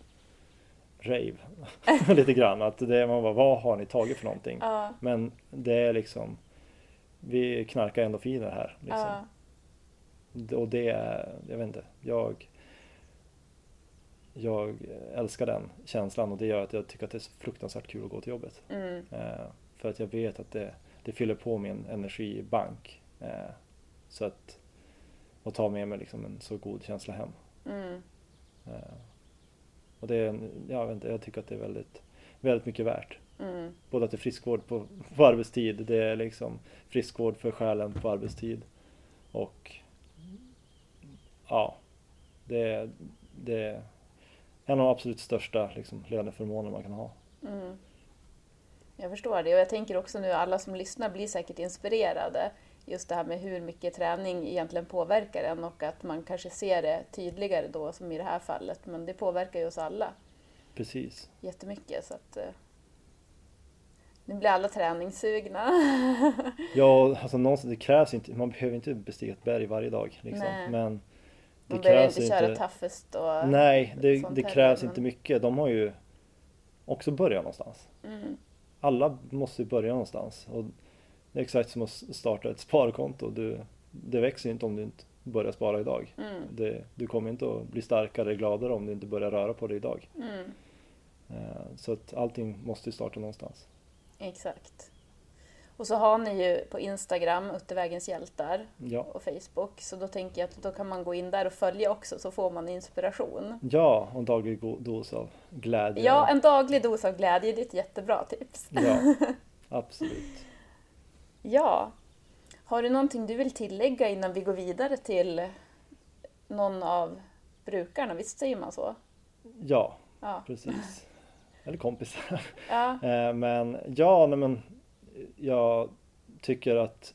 Speaker 4: rave [LAUGHS] lite grann. Att det är, man bara, vad har ni tagit för någonting?
Speaker 2: Ja.
Speaker 4: Men det är liksom vi knarkar endorfiner här. Liksom.
Speaker 2: Ja.
Speaker 4: Och det är, jag vet inte, jag jag älskar den känslan och det gör att jag tycker att det är så fruktansvärt kul att gå till jobbet.
Speaker 2: Mm.
Speaker 4: Eh, för att jag vet att det, det fyller på min energibank. Eh, så att, och tar med mig liksom en så god känsla hem.
Speaker 2: Mm.
Speaker 4: Eh, och det är, en- jag, vet inte, jag tycker att det är väldigt, väldigt mycket värt.
Speaker 2: Mm.
Speaker 4: Både att det är friskvård på, på arbetstid, det är liksom friskvård för själen på arbetstid. Och ja, det är, det är en av de absolut största liksom, löneförmåner man kan ha.
Speaker 2: Mm. Jag förstår det och jag tänker också nu alla som lyssnar blir säkert inspirerade just det här med hur mycket träning egentligen påverkar en och att man kanske ser det tydligare då som i det här fallet men det påverkar ju oss alla
Speaker 4: Precis.
Speaker 2: jättemycket så att eh, nu blir alla träningssugna.
Speaker 4: Ja, alltså någonstans, det krävs inte, man behöver inte bestiga ett berg varje dag. Liksom.
Speaker 2: Nej.
Speaker 4: Men det
Speaker 2: Man behöver
Speaker 4: krävs
Speaker 2: inte köra toughest och...
Speaker 4: Nej, det,
Speaker 2: sånt
Speaker 4: det
Speaker 2: heller,
Speaker 4: krävs
Speaker 2: men-
Speaker 4: inte mycket. De har ju också börjat någonstans.
Speaker 2: Mm,
Speaker 4: Alla måste ju börja någonstans. Och det är exakt som att s- starta ett sparkonto. Du, det växer ju inte om du inte börjar spara idag.
Speaker 2: mm,
Speaker 4: Det, du kommer inte att bli starkare, gladare om du inte börjar röra på dig idag.
Speaker 2: mm,
Speaker 4: Eh, Så att allting måste ju starta någonstans.
Speaker 2: exakt. Och så har ni ju på Instagram, Uttervägens hjältar,
Speaker 4: Ja,
Speaker 2: och Facebook. Så då tänker jag att då kan man gå in där och följa också så får man inspiration.
Speaker 4: ja och en daglig go- dos av glädje.
Speaker 2: Ja, en daglig dos av glädje, det är ett jättebra tips. [LAUGHS]
Speaker 4: ja absolut.
Speaker 2: Ja. Har du någonting du vill tillägga innan vi går vidare till någon av brukarna? Visst säger man så?
Speaker 4: Ja,
Speaker 2: Ja.
Speaker 4: precis. Eller kompisar.
Speaker 2: Ja.
Speaker 4: Eh, Men ja, nej men jag tycker att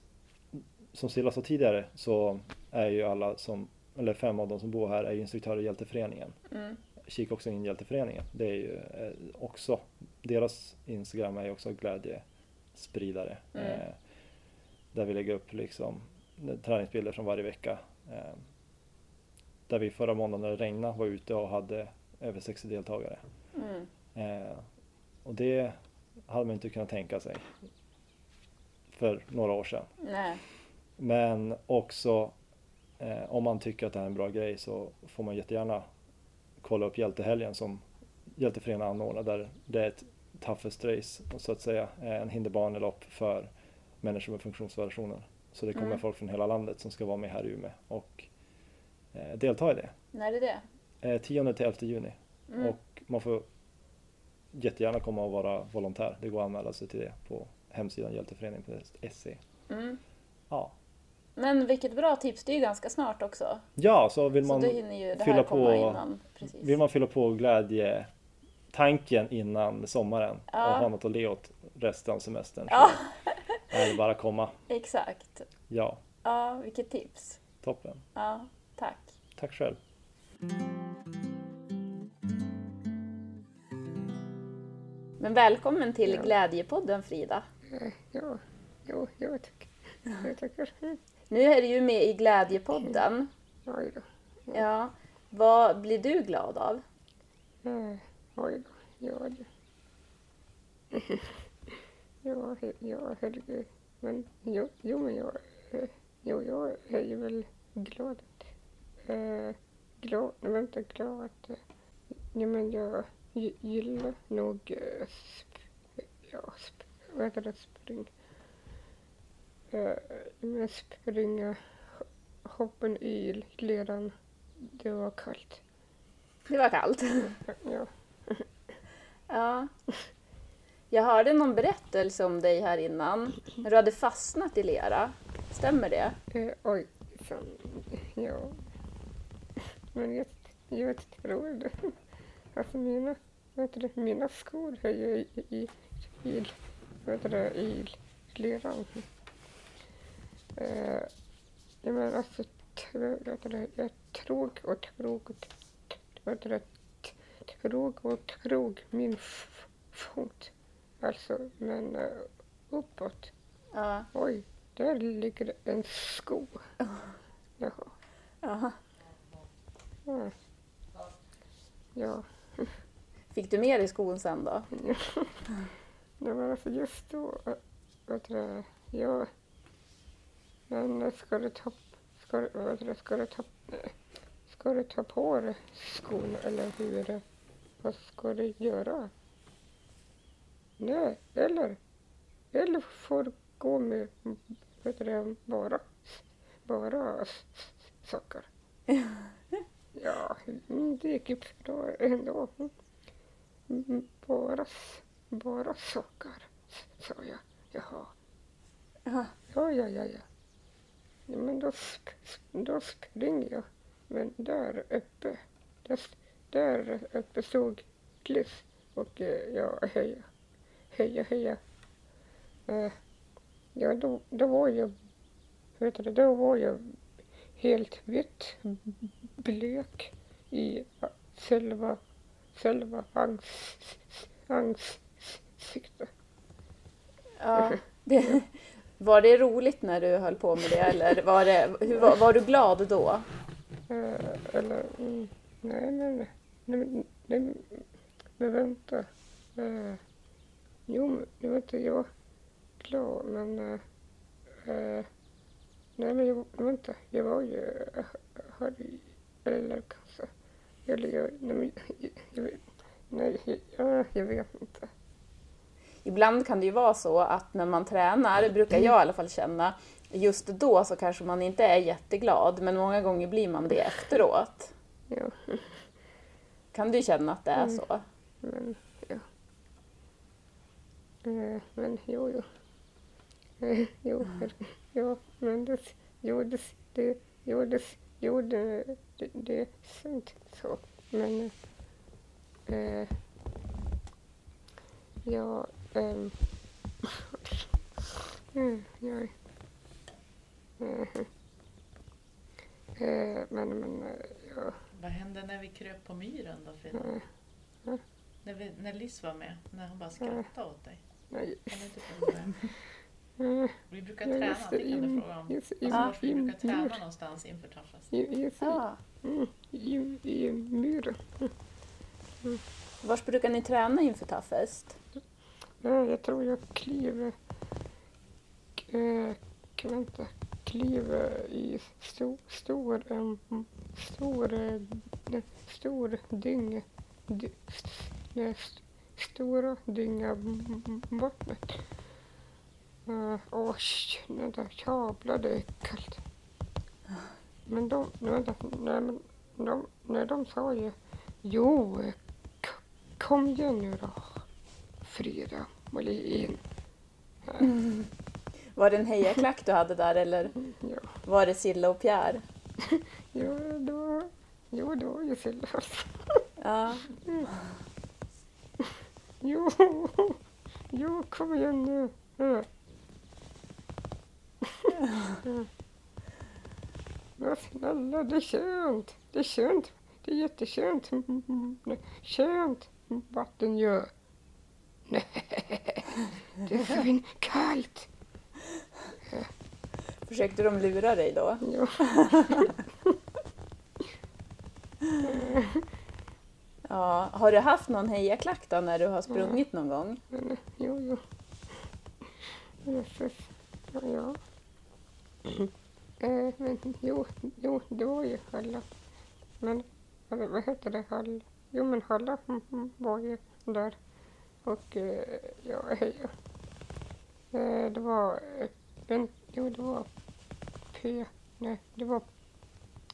Speaker 4: som Silla sa tidigare så är ju alla som, eller fem av dem som bor här är ju instruktörer i Hjälteföreningen.
Speaker 2: Mm.
Speaker 4: Kika också in i Hjälteföreningen. Det är ju eh, också, deras Instagram är ju också glädjespridare.
Speaker 2: Mm.
Speaker 4: Eh, Där vi lägger upp liksom träningsbilder från varje vecka. Eh, Där vi förra måndagen när det regnade var ute och hade över 60 deltagare.
Speaker 2: Mm.
Speaker 4: Eh, och det hade man inte kunnat tänka sig för några år sedan.
Speaker 2: Nej.
Speaker 4: Men också eh, om man tycker att det här är en bra grej så får man jättegärna kolla upp Hjältehelgen som Hjälteföreningen anordnar där det är ett toughest race så att säga, eh, en hinderbanelopp för människor med funktionsvariationer. Så det kommer
Speaker 2: Mm.
Speaker 4: folk från hela landet som ska vara med här i Umeå och eh, delta i det.
Speaker 2: När är det?
Speaker 4: Eh, 10 till 11 juni.
Speaker 2: Mm.
Speaker 4: Och man får jättegärna komma och vara volontär. Det går att anmäla sig till det på hemsidan hjälteföreningen.se.
Speaker 2: Mm.
Speaker 4: Ja.
Speaker 2: Men vilket bra tips, det är ju ganska snart också.
Speaker 4: ja, så vill
Speaker 2: Så
Speaker 4: man,
Speaker 2: då hinner ju det
Speaker 4: fylla
Speaker 2: här
Speaker 4: på-
Speaker 2: komma innan. Precis.
Speaker 4: vill man fylla på glädjetanken innan sommaren
Speaker 2: Ja.
Speaker 4: och ha något att le åt resten av semestern
Speaker 2: Ja,
Speaker 4: så är det bara att komma.
Speaker 2: exakt.
Speaker 4: Ja,
Speaker 2: Ja, vilket tips.
Speaker 4: toppen.
Speaker 2: Ja, tack.
Speaker 4: Tack själv.
Speaker 2: Men välkommen till Glädjepodden Frida.
Speaker 5: Jo, jo, jo tack. Jo tackar. Mm.
Speaker 2: Nu är du ju med i Glädjepodden.
Speaker 5: Oj då.
Speaker 2: Ja. Vad blir du glad av?
Speaker 5: Eh, Oj då. Ja, du. [LAUGHS] Ja, he- ja, herregud. Men jo, jo, men jag, eh, jo, jag är ju väl glad. Eh, glad, nej vänta, glad. Nej men jag gi- gillar nog, eh, sp- ja, sp, vad heter det, spring. Eh, men springa, ho- hoppen i ledan. Det var kallt.
Speaker 2: Det var
Speaker 4: [LAUGHS]
Speaker 2: kallt.
Speaker 5: Ja.
Speaker 2: Ja. Jag hörde någon berättelse om dig här innan. När du hade fastnat i lera. Stämmer det?
Speaker 5: Eh, oj, fan. Ja. Men jag, jag tror det. Alltså mina vad heter det, mina skor är ju i, i, i, vad heter det, i leran. Eh, ja, men alltså, tro- vad heter det, jag trog och trog och t- vad heter det, t- trog och trog min f- fot. Alltså, men eh, uppåt.
Speaker 2: Ja.
Speaker 5: Oj, där ligger en sko. Jaha.
Speaker 2: Jaha.
Speaker 5: Ja. Ja.
Speaker 2: Fick du med dig skon sen då?
Speaker 5: Nej men alltså just då, äh, vad heter det, jag... Men äh, ska du ta, ska, du- vad heter det, ska du ta, äh, ska du ta på dig skorna eller hur? äh, Vad ska du göra? Nej, eller, eller får du gå med, vad heter det, bara, bara s- s- sockar. Ja, mm, det gick ju bra ändå. Mm, Bara s- bara sockar, sa jag. Jaha.
Speaker 2: Jaha.
Speaker 5: Ja, ja, ja, ja. ja men då, sp- sp- då springer jag. Men där uppe, där, s- där uppe stod Cliff och eh, jag heja, heja, heja. Eh, ja, då, då var jag, vet du, då var jag helt vitt blek i a- själva, själva ans, ans, ansiktet.
Speaker 2: Ja. Det, var det roligt när du höll på med det eller var, det, hur, var, var du glad då?
Speaker 5: Eh, eller, mm, nej men, nej, men- nej, men- men vänta. Eh, jo, men nu var inte jag klar, men, eh, eh, nej men jag, vänta, jag var ju, eh, hade, ju- eller kanske, eller jag, nej men, jag, jag, vet- nej, jag, jag vet inte.
Speaker 2: Ibland kan det ju vara så att när man tränar, brukar jag i alla fall känna, just då så kanske man inte är jätteglad men många gånger blir man det efteråt.
Speaker 5: Ja,
Speaker 2: Kan du känna att det är
Speaker 5: Mm.
Speaker 2: så?
Speaker 5: men, ja. Eh, men jo, jo. Eh, jo, her, jo, men det, jo, det, det, jo, det, jo, det, det, det är sant så. Men, eh, ja, ehm, [LAUGHS] mm, ja. Eh, eh, men, men, eh, ja,
Speaker 3: Vad hände när vi kröp på myren då Frida?
Speaker 5: nej,
Speaker 2: Mm.
Speaker 3: När, vi, när Liz var med? När hon bara skrattade åt dig?
Speaker 5: nej.
Speaker 3: Kan du inte fråga det?
Speaker 2: Mm.
Speaker 5: eh.
Speaker 3: Vi brukar
Speaker 5: Ja,
Speaker 3: träna,
Speaker 5: just det.
Speaker 3: det kan du
Speaker 5: In-
Speaker 3: fråga om.
Speaker 5: just- in-
Speaker 3: Alltså, vi brukar
Speaker 5: in-
Speaker 3: träna någonstans inför Toughest.
Speaker 5: I, i,
Speaker 2: Ja.
Speaker 5: mm, i, i en myr.
Speaker 2: Vars brukar ni träna inför Toughest?
Speaker 5: Ja, jag tror jag kliver... k- eh, k- Vänta. Kliver i stor... Stor... em, Stor... eh, ne- Stor dynga... dy- s- ne- s- Stora dynga m- m- vattnet. Eh, Åh, sh- den där jävlar det är kallt. Men de... nej, Vänta, nej men... De, nej, de sa ju... Jo, eh, k- kom igen nu då. Frida Molin.
Speaker 2: Var det en hejaklack du hade där eller
Speaker 5: Ja,
Speaker 2: var det Silla och Pierre?
Speaker 5: ja då... Jo, det var ju Silla.
Speaker 2: Ja.
Speaker 5: Jo, jo, kom igen nu. Ja. Ja. Men snälla, det är skönt. Det är skönt. Det är jätteskönt. Mm, Skönt vatten gör. Nej, det är svinkallt.
Speaker 2: Försökte de lura dig då?
Speaker 5: Jo,
Speaker 2: Ja. Har du haft någon hejaklack då när du har sprungit någon gång?
Speaker 5: men, jo, jo. Jösses. Ja, ja. Eh, men jo, jo, det var ju Halla. Men eller, vad heter det? Hall? Jo, men Halla mm, mm, var ju där. Och eh, ja, hej. ja. Eh, det var... eh, Men, jo, det var P... Nej, det var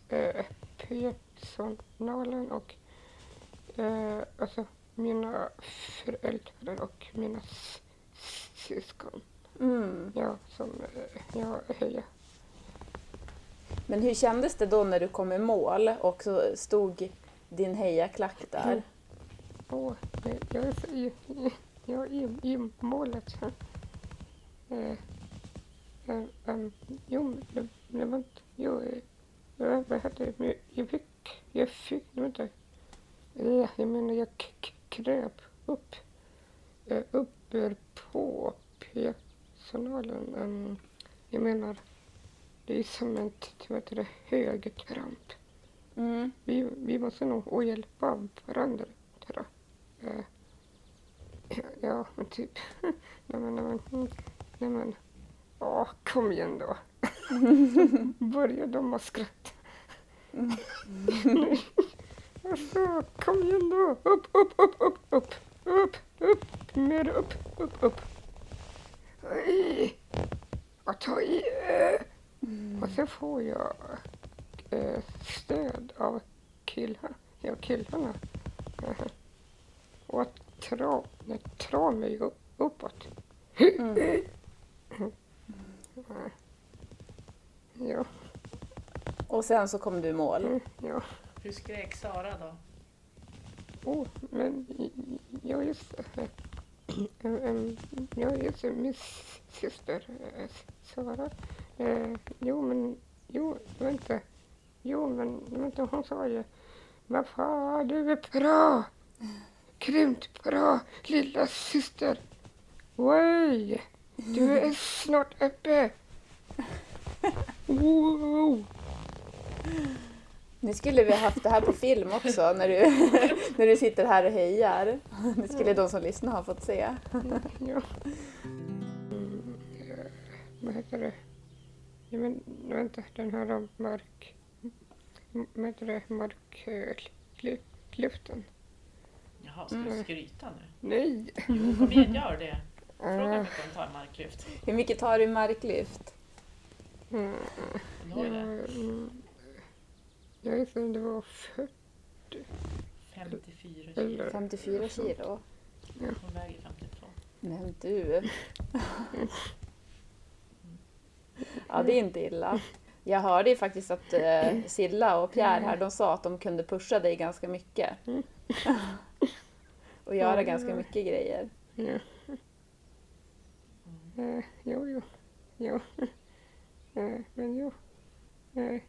Speaker 5: eh, P-sonalen och eh, alltså mina föräldrar och mina s- s- syskon.
Speaker 2: Mm.
Speaker 5: Ja, som... eh, Ja, hej. ja.
Speaker 2: Men hur kändes det då när du kom i mål och så stod din hejaklack där?
Speaker 5: Åh, nej, jag är så i, i, jag är i, i målet. Eh, eh, ehm, jo, men det- det var inte... Jo, eh, vad vad hette det? Jag fick... Jag fick... Vänta. Eh, Jag menar, jag k- k- kröp upp. eh, Upp ur på personalen. Ehm, Jag menar, det är som en t- vad heter det, högkramp.
Speaker 2: Mm.
Speaker 5: Vi, vi måste nog hjälpa varandra. Tror jag. Eh, [CLEARS THROAT] ja, men typ. [LAUGHS] nej men, nej men. mm, Nej men. Åh, kom igen då. [LAUGHS] Börja de att skratta. [LAUGHS] Nej. alltså, kom igen då. Upp, upp, upp, upp, upp. Upp, upp. Mer upp, upp, upp. Ta i. Och ta i. Och så får jag eh, stöd av killar, ja, killarna. Eh, Och att dra, nej, dra mig upp, uppåt. Eh, Ja,
Speaker 2: Och sen så kom du i mål.
Speaker 5: mm, ja.
Speaker 3: Hur skrek Sara då?
Speaker 5: Oh, men jag just det. Em, em, Ja, just det. Min syster eh, Sara. Eh, jo, men... Jo, vänta. Jo, men vänta. Hon sa ju... Vad fan, du är bra! Grymt bra, lilla syster! Oj! Du är snart uppe! Wow!
Speaker 2: Nu skulle vi ha haft det här på film också när du, [LAUGHS] när du sitter här och hejar. Det skulle de som lyssnar ha fått se.
Speaker 5: Ja. Mm, eh, vad heter det? Ja, men, vänta, den här om mark... m- Vad heter det? Mark... eh, lu- Luften?
Speaker 3: Jaha, ska du skryta nu?
Speaker 5: Nej!
Speaker 3: Jo, kom igen, gör det. [LAUGHS] Fråga
Speaker 5: Eh,
Speaker 3: om de tar marklyft.
Speaker 2: Hur mycket tar du i marklyft?
Speaker 5: mm,
Speaker 3: Kommer du
Speaker 5: ja,
Speaker 3: ihåg det?
Speaker 5: mm, jag vet inte, det var 40
Speaker 3: 54 kilo.
Speaker 5: eller...
Speaker 2: 54 kilo.
Speaker 3: Hon väger 52.
Speaker 2: Men du. Ja, det är inte illa. Jag hörde ju faktiskt att eh, Silla och Pierre här, de sa att de kunde pusha dig ganska mycket. Och göra ganska mycket grejer.
Speaker 5: Ja. Eh, jo, jo. Jo. Eh, men jo. Eh,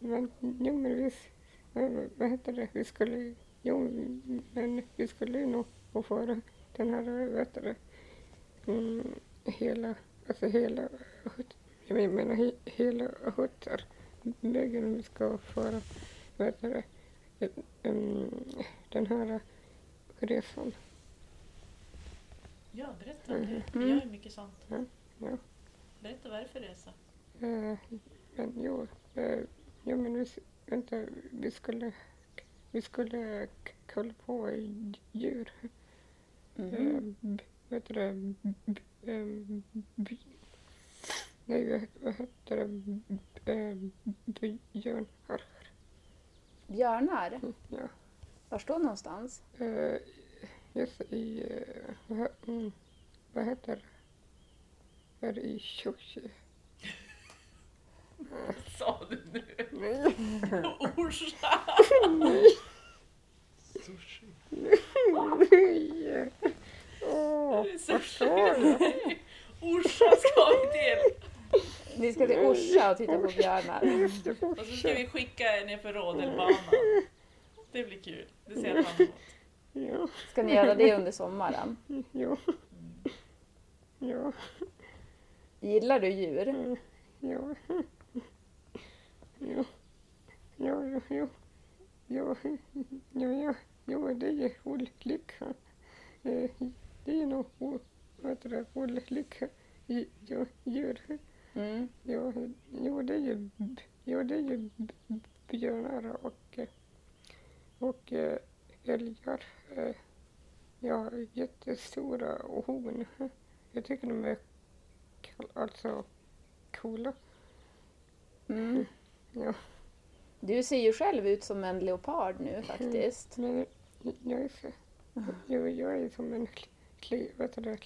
Speaker 5: men, jo, men vi... s- eh, Vad heter det? Vi skulle... ju- Jo, men vi skulle ju nog få föra den här... Vad heter det? Mm, hela... Alltså hela... hut- Jag menar he, hela huttar. Bögen om vi ska föra... Vad heter det? eh, mm, Den här resan.
Speaker 3: Ja, berätta om det. Vi gör ju mycket sånt.
Speaker 5: Ja, ja.
Speaker 3: Berätta vad det är för resa.
Speaker 5: Eh, men jo, eh, ja, men vi, s- vänta, vi skulle, vi skulle k- kolla på djur.
Speaker 2: Mhm.
Speaker 5: Eh, b- vad heter det? B- b- ehm, b- nej, vad het- vad heter det? B- ehm, b- Björnar.
Speaker 2: Björnar,
Speaker 5: Ja.
Speaker 2: var står någonstans?
Speaker 5: Eh, just i, eh, vad, he- mm, vad heter det? Var det i Tjochi?
Speaker 3: [LAUGHS] Sa du nu?
Speaker 5: Nej,
Speaker 3: [LAUGHS] Orsa!
Speaker 5: [LAUGHS] nej! Åh, vad sa jag?
Speaker 3: Orsa ska vi till!
Speaker 2: Ni ska till Orsa och titta på björnar.
Speaker 5: Just det,
Speaker 3: Och så ska
Speaker 5: fortsätt.
Speaker 3: vi skicka er ner för rodelbanan. Det blir kul. Det ser jag fram emot.
Speaker 5: Ja,
Speaker 2: Ska ni göra det under sommaren?
Speaker 5: ja. Mm. Ja,
Speaker 2: Gillar du djur?
Speaker 5: eh, ja. Ja, ja, ja, ja. Ja, ja, ja. ja det är olika. Eh, Det är nog o- vad heter det, olika i- ja, djur.
Speaker 2: Mm.
Speaker 5: Ja, jo, det är ju, b- ja, det är ju b- b- björnar och, eh, och eh, älgar. Eh, Ja, jättestora och horn. Jag tycker de är kall- alltså coola.
Speaker 2: Mm.
Speaker 5: Ja.
Speaker 2: Du ser ju själv ut som en leopard nu faktiskt.
Speaker 5: Men jag är, så, jo, jag är som en kli, vad heter det,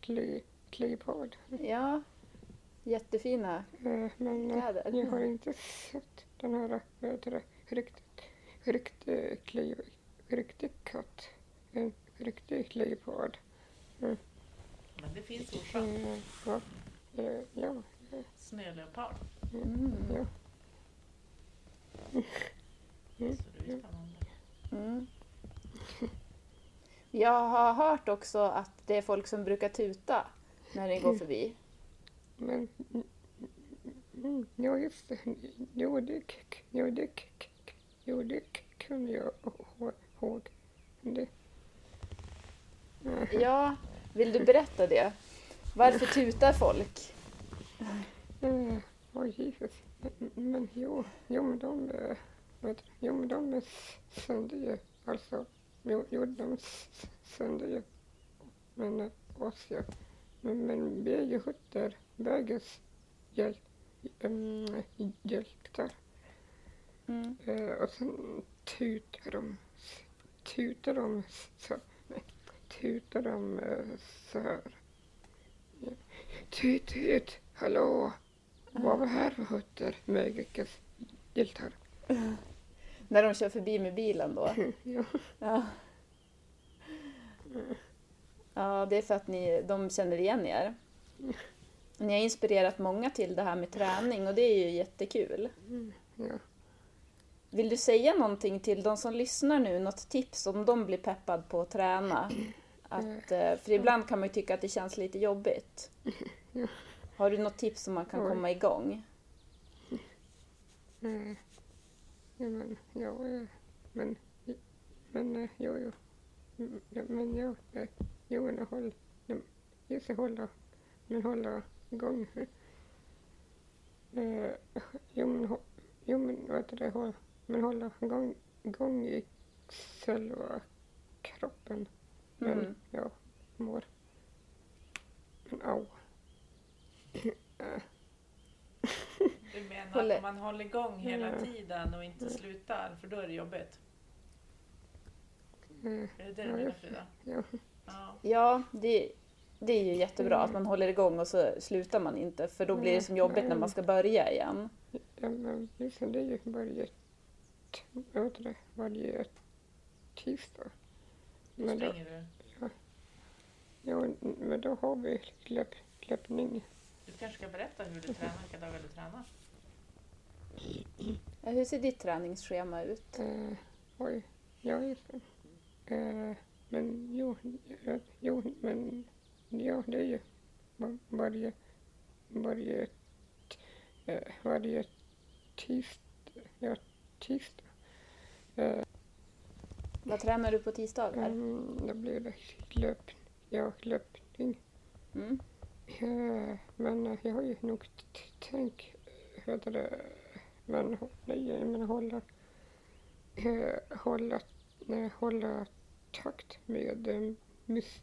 Speaker 5: kli, klipad.
Speaker 2: Ja, jättefina
Speaker 5: Eh, Men eh,
Speaker 2: Kläder.
Speaker 5: jag har inte sett den här, vad heter det, riktigt, riktigt, eh, kli- riktigt katt. en riktig leopard.
Speaker 3: Men det finns orsak.
Speaker 5: Eh, ja, eh, ja,
Speaker 3: Snöleopard.
Speaker 5: Mm, ja.
Speaker 3: Så det är ju spännande.
Speaker 2: Mm. Jag har hört också att det är folk som brukar tuta när det går förbi.
Speaker 5: Men... Mm, ja, just det. Jo, det, k- k- jo, det, k- k- jo, det k- kunde jag ihå- ihåg. Det,
Speaker 2: Ja, vill du berätta det? Varför tutar folk?
Speaker 5: eh, åh, Jesus. Men, men jo, jo, men de... eh, Vet, jo, men de är s- sönder ju. Alltså, jo, jo de är s- s- sönder ju. Men eh, oss ja. Men, men vi är ju hutter, vägers hjäl, um, hjältar.
Speaker 2: Mm.
Speaker 5: Eh, och sen tutar de, tutar de så, nej, tutar de eh, så här. Ja. Tut, tut, hallå! Vad var det här för hutter? Mögekas hjältar.
Speaker 2: När de kör förbi med bilen då?
Speaker 5: Ja.
Speaker 2: Ja. ja, det är för att ni, de känner igen er. Ni har inspirerat många till det här med träning och det är ju jättekul.
Speaker 5: ja.
Speaker 2: Vill du säga någonting till de som lyssnar nu, något tips om de blir peppad på att träna? Att, eh, för ibland kan man ju tycka att det känns lite jobbigt.
Speaker 5: Ja.
Speaker 2: Har du något tips om man kan
Speaker 5: Oj.
Speaker 2: komma igång?
Speaker 5: Eh, ja, men, ja, eh, men, men, eh, jo, jo. Mm, ja, Men, ja, eh, jo, men håll, nej, just det, hålla, men hålla igång. Eh, jo, men, hå- jo, men, vad heter det, håll, men hålla igång, igång i själva kroppen. Men,
Speaker 2: Mm.
Speaker 5: ja, mår. Men, au.
Speaker 3: Du menar
Speaker 2: Håller-
Speaker 3: att man håller igång hela
Speaker 5: Mm.
Speaker 3: tiden och inte slutar, för då är det jobbigt?
Speaker 5: Eh,
Speaker 3: Är det det du
Speaker 5: Ja,
Speaker 3: menar
Speaker 5: just
Speaker 3: Frida?
Speaker 5: ja.
Speaker 3: Ja.
Speaker 2: Ja, det, det är ju jättebra
Speaker 5: Mm.
Speaker 2: att man håller igång och så slutar man inte för då blir det som jobbigt när man
Speaker 5: Mm.
Speaker 2: ska börja igen.
Speaker 5: Ja, men liksom det är ju varje, t- vad heter det, varje tisdag.
Speaker 3: Nu
Speaker 5: Men då,
Speaker 3: springer du.
Speaker 5: ja, men då har vi löp, löpning.
Speaker 3: Du kanske ska berätta hur du tränar, vilka dagar du tränar?
Speaker 2: Ja, Hur ser ditt träningsschema ut?
Speaker 5: Eh, oj, ja just det. Eh, men jo, eh, jo, men ja, det är ju va- varje, varje, t- eh, varje tisdag. Ja, tisdag.
Speaker 2: Vad tränar du på tisdagar?
Speaker 5: Mm, då blir det löp, ja, löpning.
Speaker 2: Mm.
Speaker 5: Eh, Men eh, jag har ju nog t- t- tänkt, eh, vad heter det, men hå- nej, jag menar hålla, eh, hålla, nej, hålla takt med eh, mus,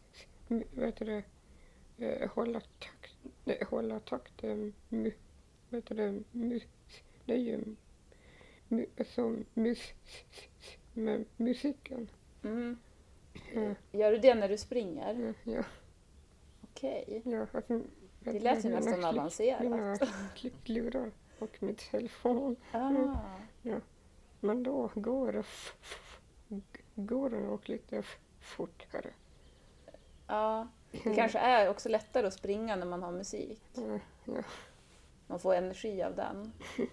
Speaker 5: mu- vad heter det, eh, hålla takt, nej, hålla takt, eh, mu, vad heter det, mus, nej, eh, mu, alltså mus, med musiken.
Speaker 2: Mm.
Speaker 5: Eh,
Speaker 2: Gör du det när du springer?
Speaker 5: eh, Ja,
Speaker 2: Okej.
Speaker 5: ja, alltså,
Speaker 2: Det lät ju nästan alltså.
Speaker 5: Mina Mm.
Speaker 2: avancerat.
Speaker 5: lurar och min telefon.
Speaker 2: Ah.
Speaker 5: Men då går det, f- f- g- går det nog lite f- fortare.
Speaker 2: Ja.
Speaker 5: Mm.
Speaker 2: Det kanske är också lättare att springa när man har musik.
Speaker 5: Ja, ja,
Speaker 2: Man får energi av den.
Speaker 5: [LAUGHS]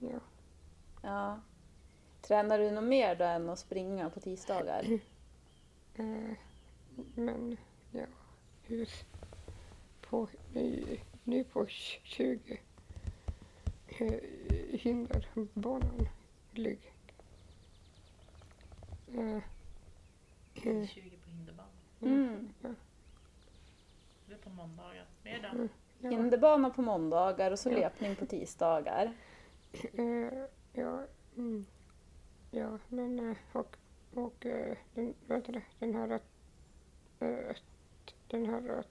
Speaker 5: ja.
Speaker 2: Ja. Tränar du något mer då än att springa på tisdagar?
Speaker 5: Mm. Eh, men ja, hur på, nu, nu på 20 eh, hinderbanan ligger. Eh, Mm.
Speaker 3: 20 på hinderbanan.
Speaker 2: Mm.
Speaker 3: Det är på måndagar. Mer då?
Speaker 5: Mm. ja,
Speaker 2: Hinderbana på måndagar och så
Speaker 5: Ja.
Speaker 2: löpning på tisdagar.
Speaker 5: Eh, ja, mm, ja, men eh, och, och eh, den, vad heter det, den här eh, den här eh,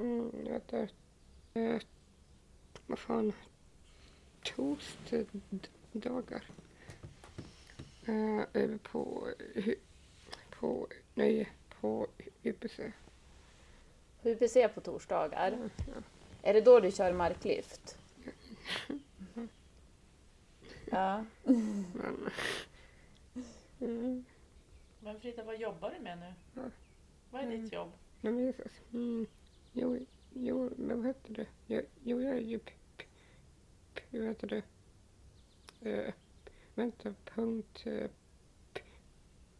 Speaker 5: mm, vad heter det, eh, vad fan toastdagar eh, eh, på hu- på nej på eh, UPC.
Speaker 2: HBC på torsdagar.
Speaker 5: Mm, Ja,
Speaker 2: Är det då du kör
Speaker 5: [LAUGHS]
Speaker 2: marklyft? Ja.
Speaker 5: men, [LAUGHS] mm,
Speaker 3: Frida, vad jobbar du med nu?
Speaker 5: Ja. Mm.
Speaker 3: Vad är ditt jobb?
Speaker 5: Nej men Jesus. Mm. Jo, jo, men vad heter det? Jo, jo jag är ju... p- p- p- Vad heter det? Eh, vänta, punkt... eh, p-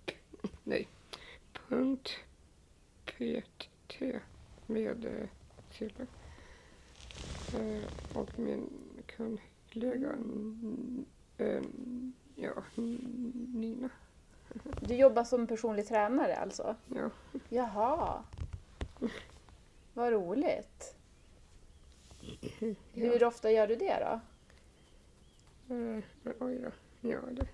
Speaker 5: p- Nej. Punkt PT med eh, Silla. Eh, och min kollega... mm, ehm, ja, Nina.
Speaker 2: Du jobbar som personlig tränare alltså?
Speaker 5: Ja.
Speaker 2: Jaha. Vad roligt. Hur ofta gör du det då?
Speaker 5: Eh, men oj då. Ja du.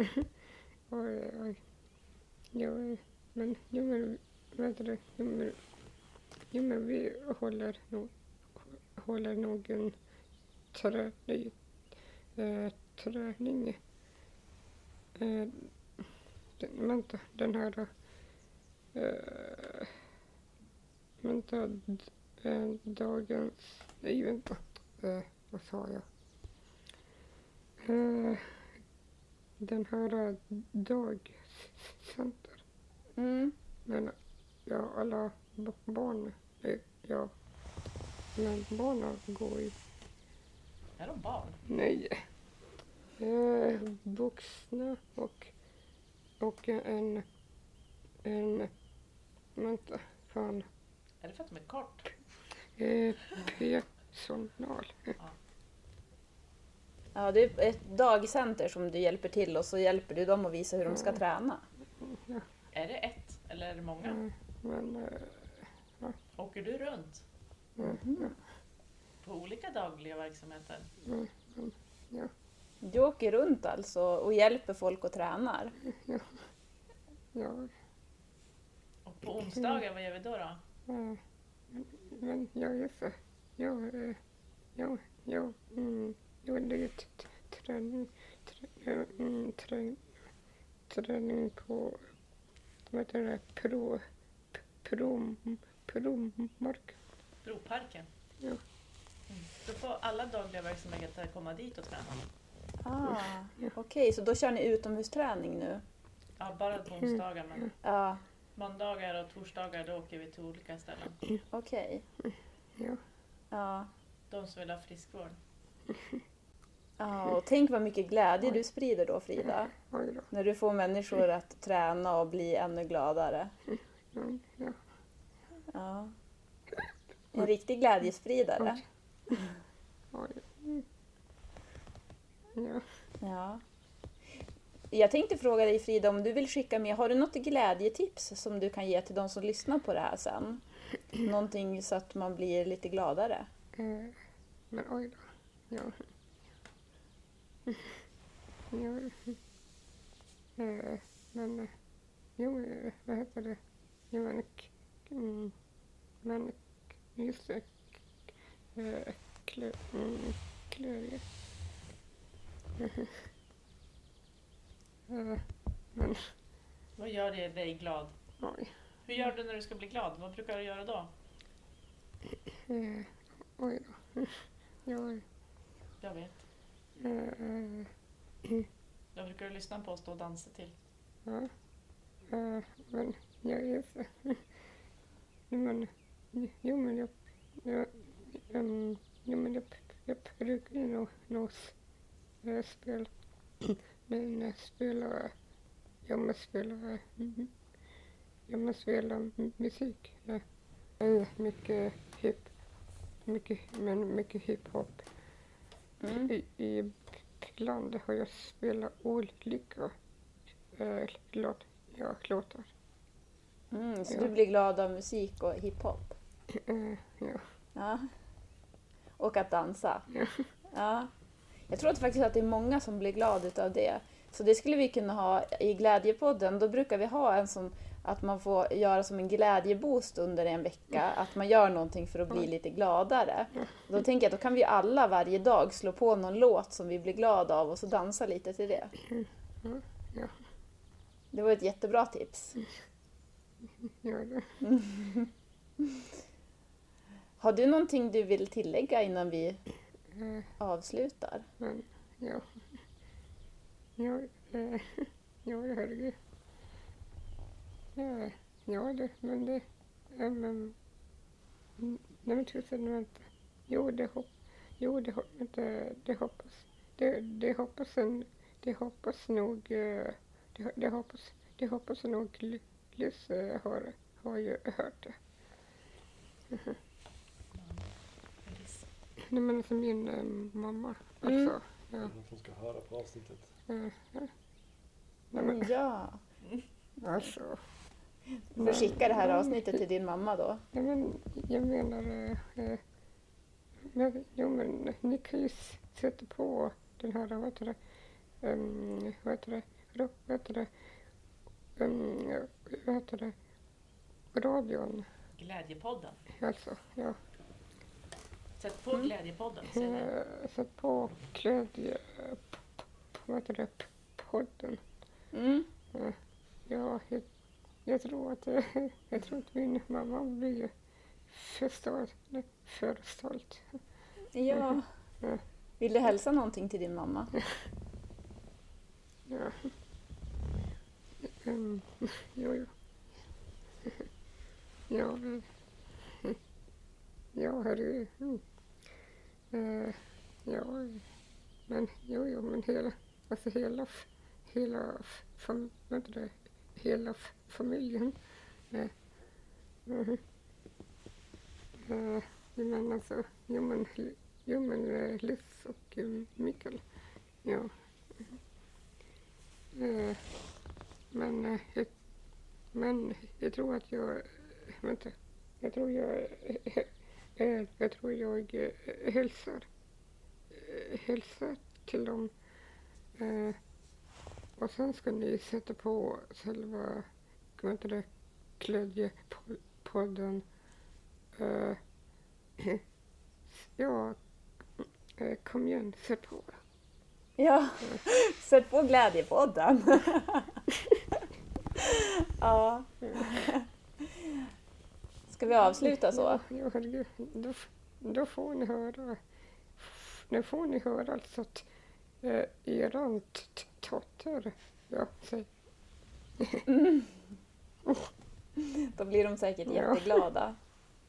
Speaker 5: Eh, [LAUGHS] oj, oj. Ja, eh, men, jo, men vänta du. Jo, men, jo, men vi håller nog, håller nog en träning. Eh, träning. Eh, den, vänta, den här då. Eh, vänta, d- eh, dagens... Nej, vänta. Eh, vad sa jag? Eh, den här eh, dagcenter.
Speaker 2: Mm.
Speaker 5: Men ja, alla b- barn, eh, ja. Men barnen går ju,
Speaker 3: Är de barn?
Speaker 5: nej. Eh, vuxna och, och en, en, vänta, fan,
Speaker 3: Är det för att de är kort?
Speaker 5: eh, personal.
Speaker 2: Ja, det är ett dagcenter som du hjälper till och så hjälper du dem att visa hur de ska
Speaker 5: Mm.
Speaker 2: träna.
Speaker 3: Är det ett eller är det många?
Speaker 5: Mm. Men, eh,
Speaker 3: Åker du runt
Speaker 5: ja, ja,
Speaker 3: på olika dagliga verksamheter?
Speaker 2: Du åker runt alltså och hjälper folk och tränar.
Speaker 5: ja,
Speaker 3: Och på onsdagar, vad gör vi då? då?
Speaker 5: Eh, Men jag är så... Jag... eh, Jag... Jag... Mm, jag lägger t- t- träning... trä- eh, mm, trä- Träning på... Vad heter det? Pro... p- Prom... Promark.
Speaker 3: Broparken?
Speaker 5: Ja.
Speaker 3: Mm. Då får alla dagliga verksamheter komma dit och träna?
Speaker 2: Ah, Okej, så då kör ni utomhusträning nu?
Speaker 3: Ja, bara på onsdagar.
Speaker 2: Mm.
Speaker 3: Men
Speaker 2: Ja,
Speaker 3: måndagar och torsdagar då åker vi till olika ställen.
Speaker 2: okej.
Speaker 5: Ja.
Speaker 2: Ja.
Speaker 3: De som vill ha friskvård.
Speaker 2: Ja, och tänk vad mycket glädje du sprider då Frida.
Speaker 5: Oj då.
Speaker 2: När du får människor att träna och bli ännu gladare.
Speaker 5: Mm, ja.
Speaker 2: Ja. En riktig glädjespridare.
Speaker 5: Oj. Mm. Ja.
Speaker 2: Ja. Jag tänkte fråga dig Frida om du vill skicka med, har du något glädjetips som du kan ge till de som lyssnar på det här sen? Någonting så att man blir lite gladare?
Speaker 5: Eh, men oj då. Ja. ja. Eh, men... eh, Jo, eh, vad heter det? Jo, men... k- mm, Men... k- Just det. K- eh, klö- mm, Klöver. Eh, Men
Speaker 3: Vad gör det dig glad?
Speaker 5: oj.
Speaker 3: Hur gör du när du ska bli glad? Vad brukar du göra då?
Speaker 5: Eh, Oj då. Ja.
Speaker 3: Jag vet.
Speaker 5: eh,
Speaker 3: Jag brukar du lyssna på och stå och dansa till.
Speaker 5: Ja. Eh, men jag är så... Jo, men... Jo, men jag... jag um, jo, men jag, jag brukar ju nog, nog s- eh, spela... Men jag spelar... Jag måste spela... mhm. Jag måste spela m- musik. eh. Eh, Mycket hip... Mycket, men mycket hiphop.
Speaker 2: Mm.
Speaker 5: I, i ibland har jag spelat olika eh, låt, ja, låtar.
Speaker 2: Mm, så
Speaker 5: Ja.
Speaker 2: du blir glad av musik och hiphop?
Speaker 5: Eh, ja.
Speaker 2: Ja. Och att
Speaker 5: [LAUGHS]
Speaker 2: dansa?
Speaker 5: Ja.
Speaker 2: Ja. Jag tror att faktiskt att det är många som blir glada utav det. Så det skulle vi kunna ha i Glädjepodden. Då brukar vi ha en som att man får göra som en glädjeboost under en vecka.
Speaker 5: Mm.
Speaker 2: Att man gör någonting för att bli lite gladare. Då tänker jag att då kan vi alla varje dag slå på någon låt som vi blir glada av och så dansa lite till det.
Speaker 5: Mm. ja. Mm.
Speaker 2: Det var ett jättebra tips.
Speaker 5: Ja, det.
Speaker 2: Har du någonting du vill tillägga innan vi
Speaker 5: Eh,
Speaker 2: avslutar?
Speaker 5: men, ja. Ja, eh, ja, herregud. Ja, ja det, men det... ja, Men, mm, nej men tusen, vänta. Jo, det hoppas... Jo, det, hop- vänta, det hoppas... Det, det hoppas en... Det hoppas nog... eh, Det, det hoppas... Det hoppas nog Lu- Lusse har, har ju hört det. Nej men alltså min eh, mamma
Speaker 2: Mm.
Speaker 5: också. Ja,
Speaker 4: Hon ska höra på avsnittet.
Speaker 5: ja, ja. Nej men
Speaker 2: Ja.
Speaker 5: alltså...
Speaker 2: Du får skicka det här avsnittet till din mamma då.
Speaker 5: Ja, men jag menar... eh, Eh, men, jo, men ni kan ju s- sätta på den här, vad heter det, um, vad heter det, ra- vad heter det, um, vad heter det, radion,
Speaker 6: Glädjepodden.
Speaker 5: alltså. Ja.
Speaker 6: Sätt på Glädjepodden. säger den.
Speaker 5: Eh, Sätt på glädje, eh, p- p- vad heter det, p- podden.
Speaker 2: Mm.
Speaker 5: Ja, jag, jag tror att, [LAUGHS] eh, jag tror att min mamma blir för stolt, för stolt.
Speaker 2: Ja.
Speaker 5: Mm.
Speaker 2: Vill du hälsa någonting till din mamma?
Speaker 5: Ja. Um, jo, jo. Ja, men- ja, herregud. Mm. Eh, ja, men jo, jo, men hela, alltså hela, f- hela, f- fam, vänta det, hela f- familjen. Eh, mhm. eh, jo, men alltså, jo, men, jo, men eh, Liz och um, Mikael. Ja. Eh, Men, eh, jag, men jag tror att jag... Vänta. Jag tror jag... [LAUGHS] eh, Jag tror jag eh, hälsar. eh, Hälsar till dem. Eh, Och sen ska ni sätta på själva vad heter det, glädjepodden. Eh, [CLEARS THROAT] Ja, eh, kom igen, sätt på.
Speaker 2: Ja, sätt på glädjepodden. ja. Ska vi avsluta så?
Speaker 5: Ja, herregud. Då, f- då får ni höra. Nu får ni höra alltså att eh, eran t- t- dotter, ja, säg,
Speaker 2: Då blir de säkert
Speaker 5: Ja.
Speaker 2: jätteglada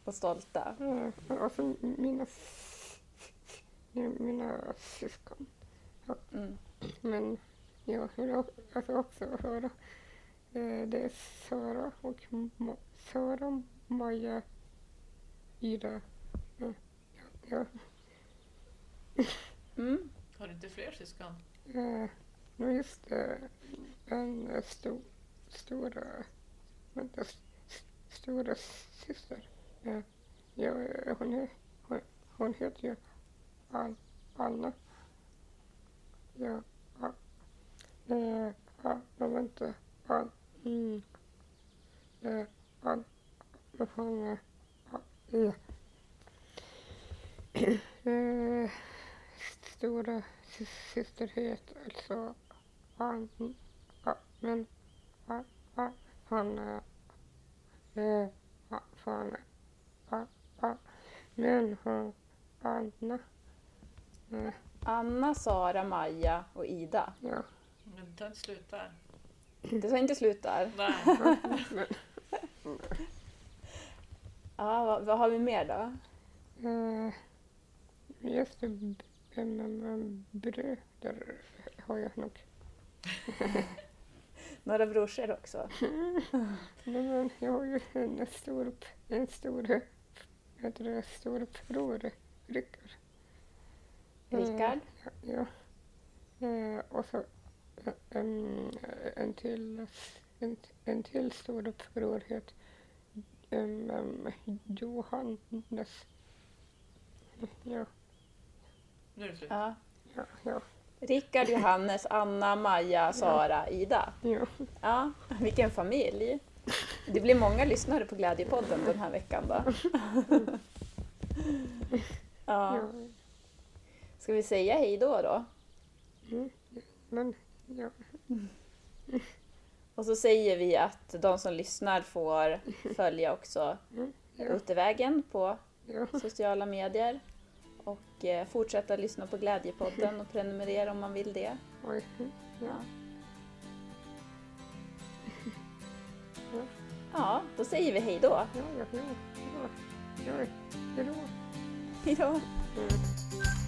Speaker 2: och stolta.
Speaker 5: eh, alltså mina, s- s- mina syskon.
Speaker 2: Mm.
Speaker 5: Men jag vill o- alltså också höra. Eh, det är Sara och Ma- Sara, Maja, Ida. Eh, ja,
Speaker 2: Mm.
Speaker 6: Har du inte fler syskon?
Speaker 5: ja, eh, nu just eh, en eh, stor, stora, vänta, s- s- stora syster. Eh, ja, eh, hon, he- hon, hon heter ju An, Anna. Ja, a, eh, a, men vänta, An, mm, eh, An, vad fan, eh, a, ja. [CLEARS THROAT] eh, stora sy- syster heter alltså An, a, men, a, a, han, eh, Eh, ja, fan. Ja, ja. Men hon, Anna. Eh,
Speaker 2: Anna, Sara, Maja och Ida.
Speaker 5: Ja,
Speaker 6: Men ta inte slut där.
Speaker 2: Det tar inte slut där.
Speaker 6: Nej.
Speaker 2: Ja, vad, vad har vi mer då?
Speaker 5: eh, just det, b- m- m- bröder har jag nog.
Speaker 2: Några brorsor också.
Speaker 5: Nej, men jag har ju en stor, en stor, heter det, storbror, Rickard. Eh,
Speaker 2: Rickard.
Speaker 5: Ja. Eh, och så eh, en, eh, en till, en, en till storebror heter um, Johannes. Ja,
Speaker 6: Nu är det slut.
Speaker 2: Ja.
Speaker 5: ja, ja.
Speaker 2: Rickard, Johannes, Anna, Maja, Sara, Ida.
Speaker 5: ja.
Speaker 2: Ja, vilken familj. Det blir många lyssnare på Glädjepodden den här veckan då. Ja,
Speaker 5: ja.
Speaker 2: ska vi säga hej då då?
Speaker 5: Mm, men ja,
Speaker 2: Och så säger vi att de som lyssnar får följa också
Speaker 5: ja,
Speaker 2: Utevägen på
Speaker 5: ja,
Speaker 2: sociala medier och eh, fortsätta lyssna på Glädjepodden och prenumerera om man vill det.
Speaker 5: oj. Ja.
Speaker 2: Ja.
Speaker 5: Ja.
Speaker 2: Ja, då säger vi hej då.
Speaker 5: Ja, ja, ja. Ja, ja, ja.
Speaker 2: Hej då.
Speaker 5: Mm.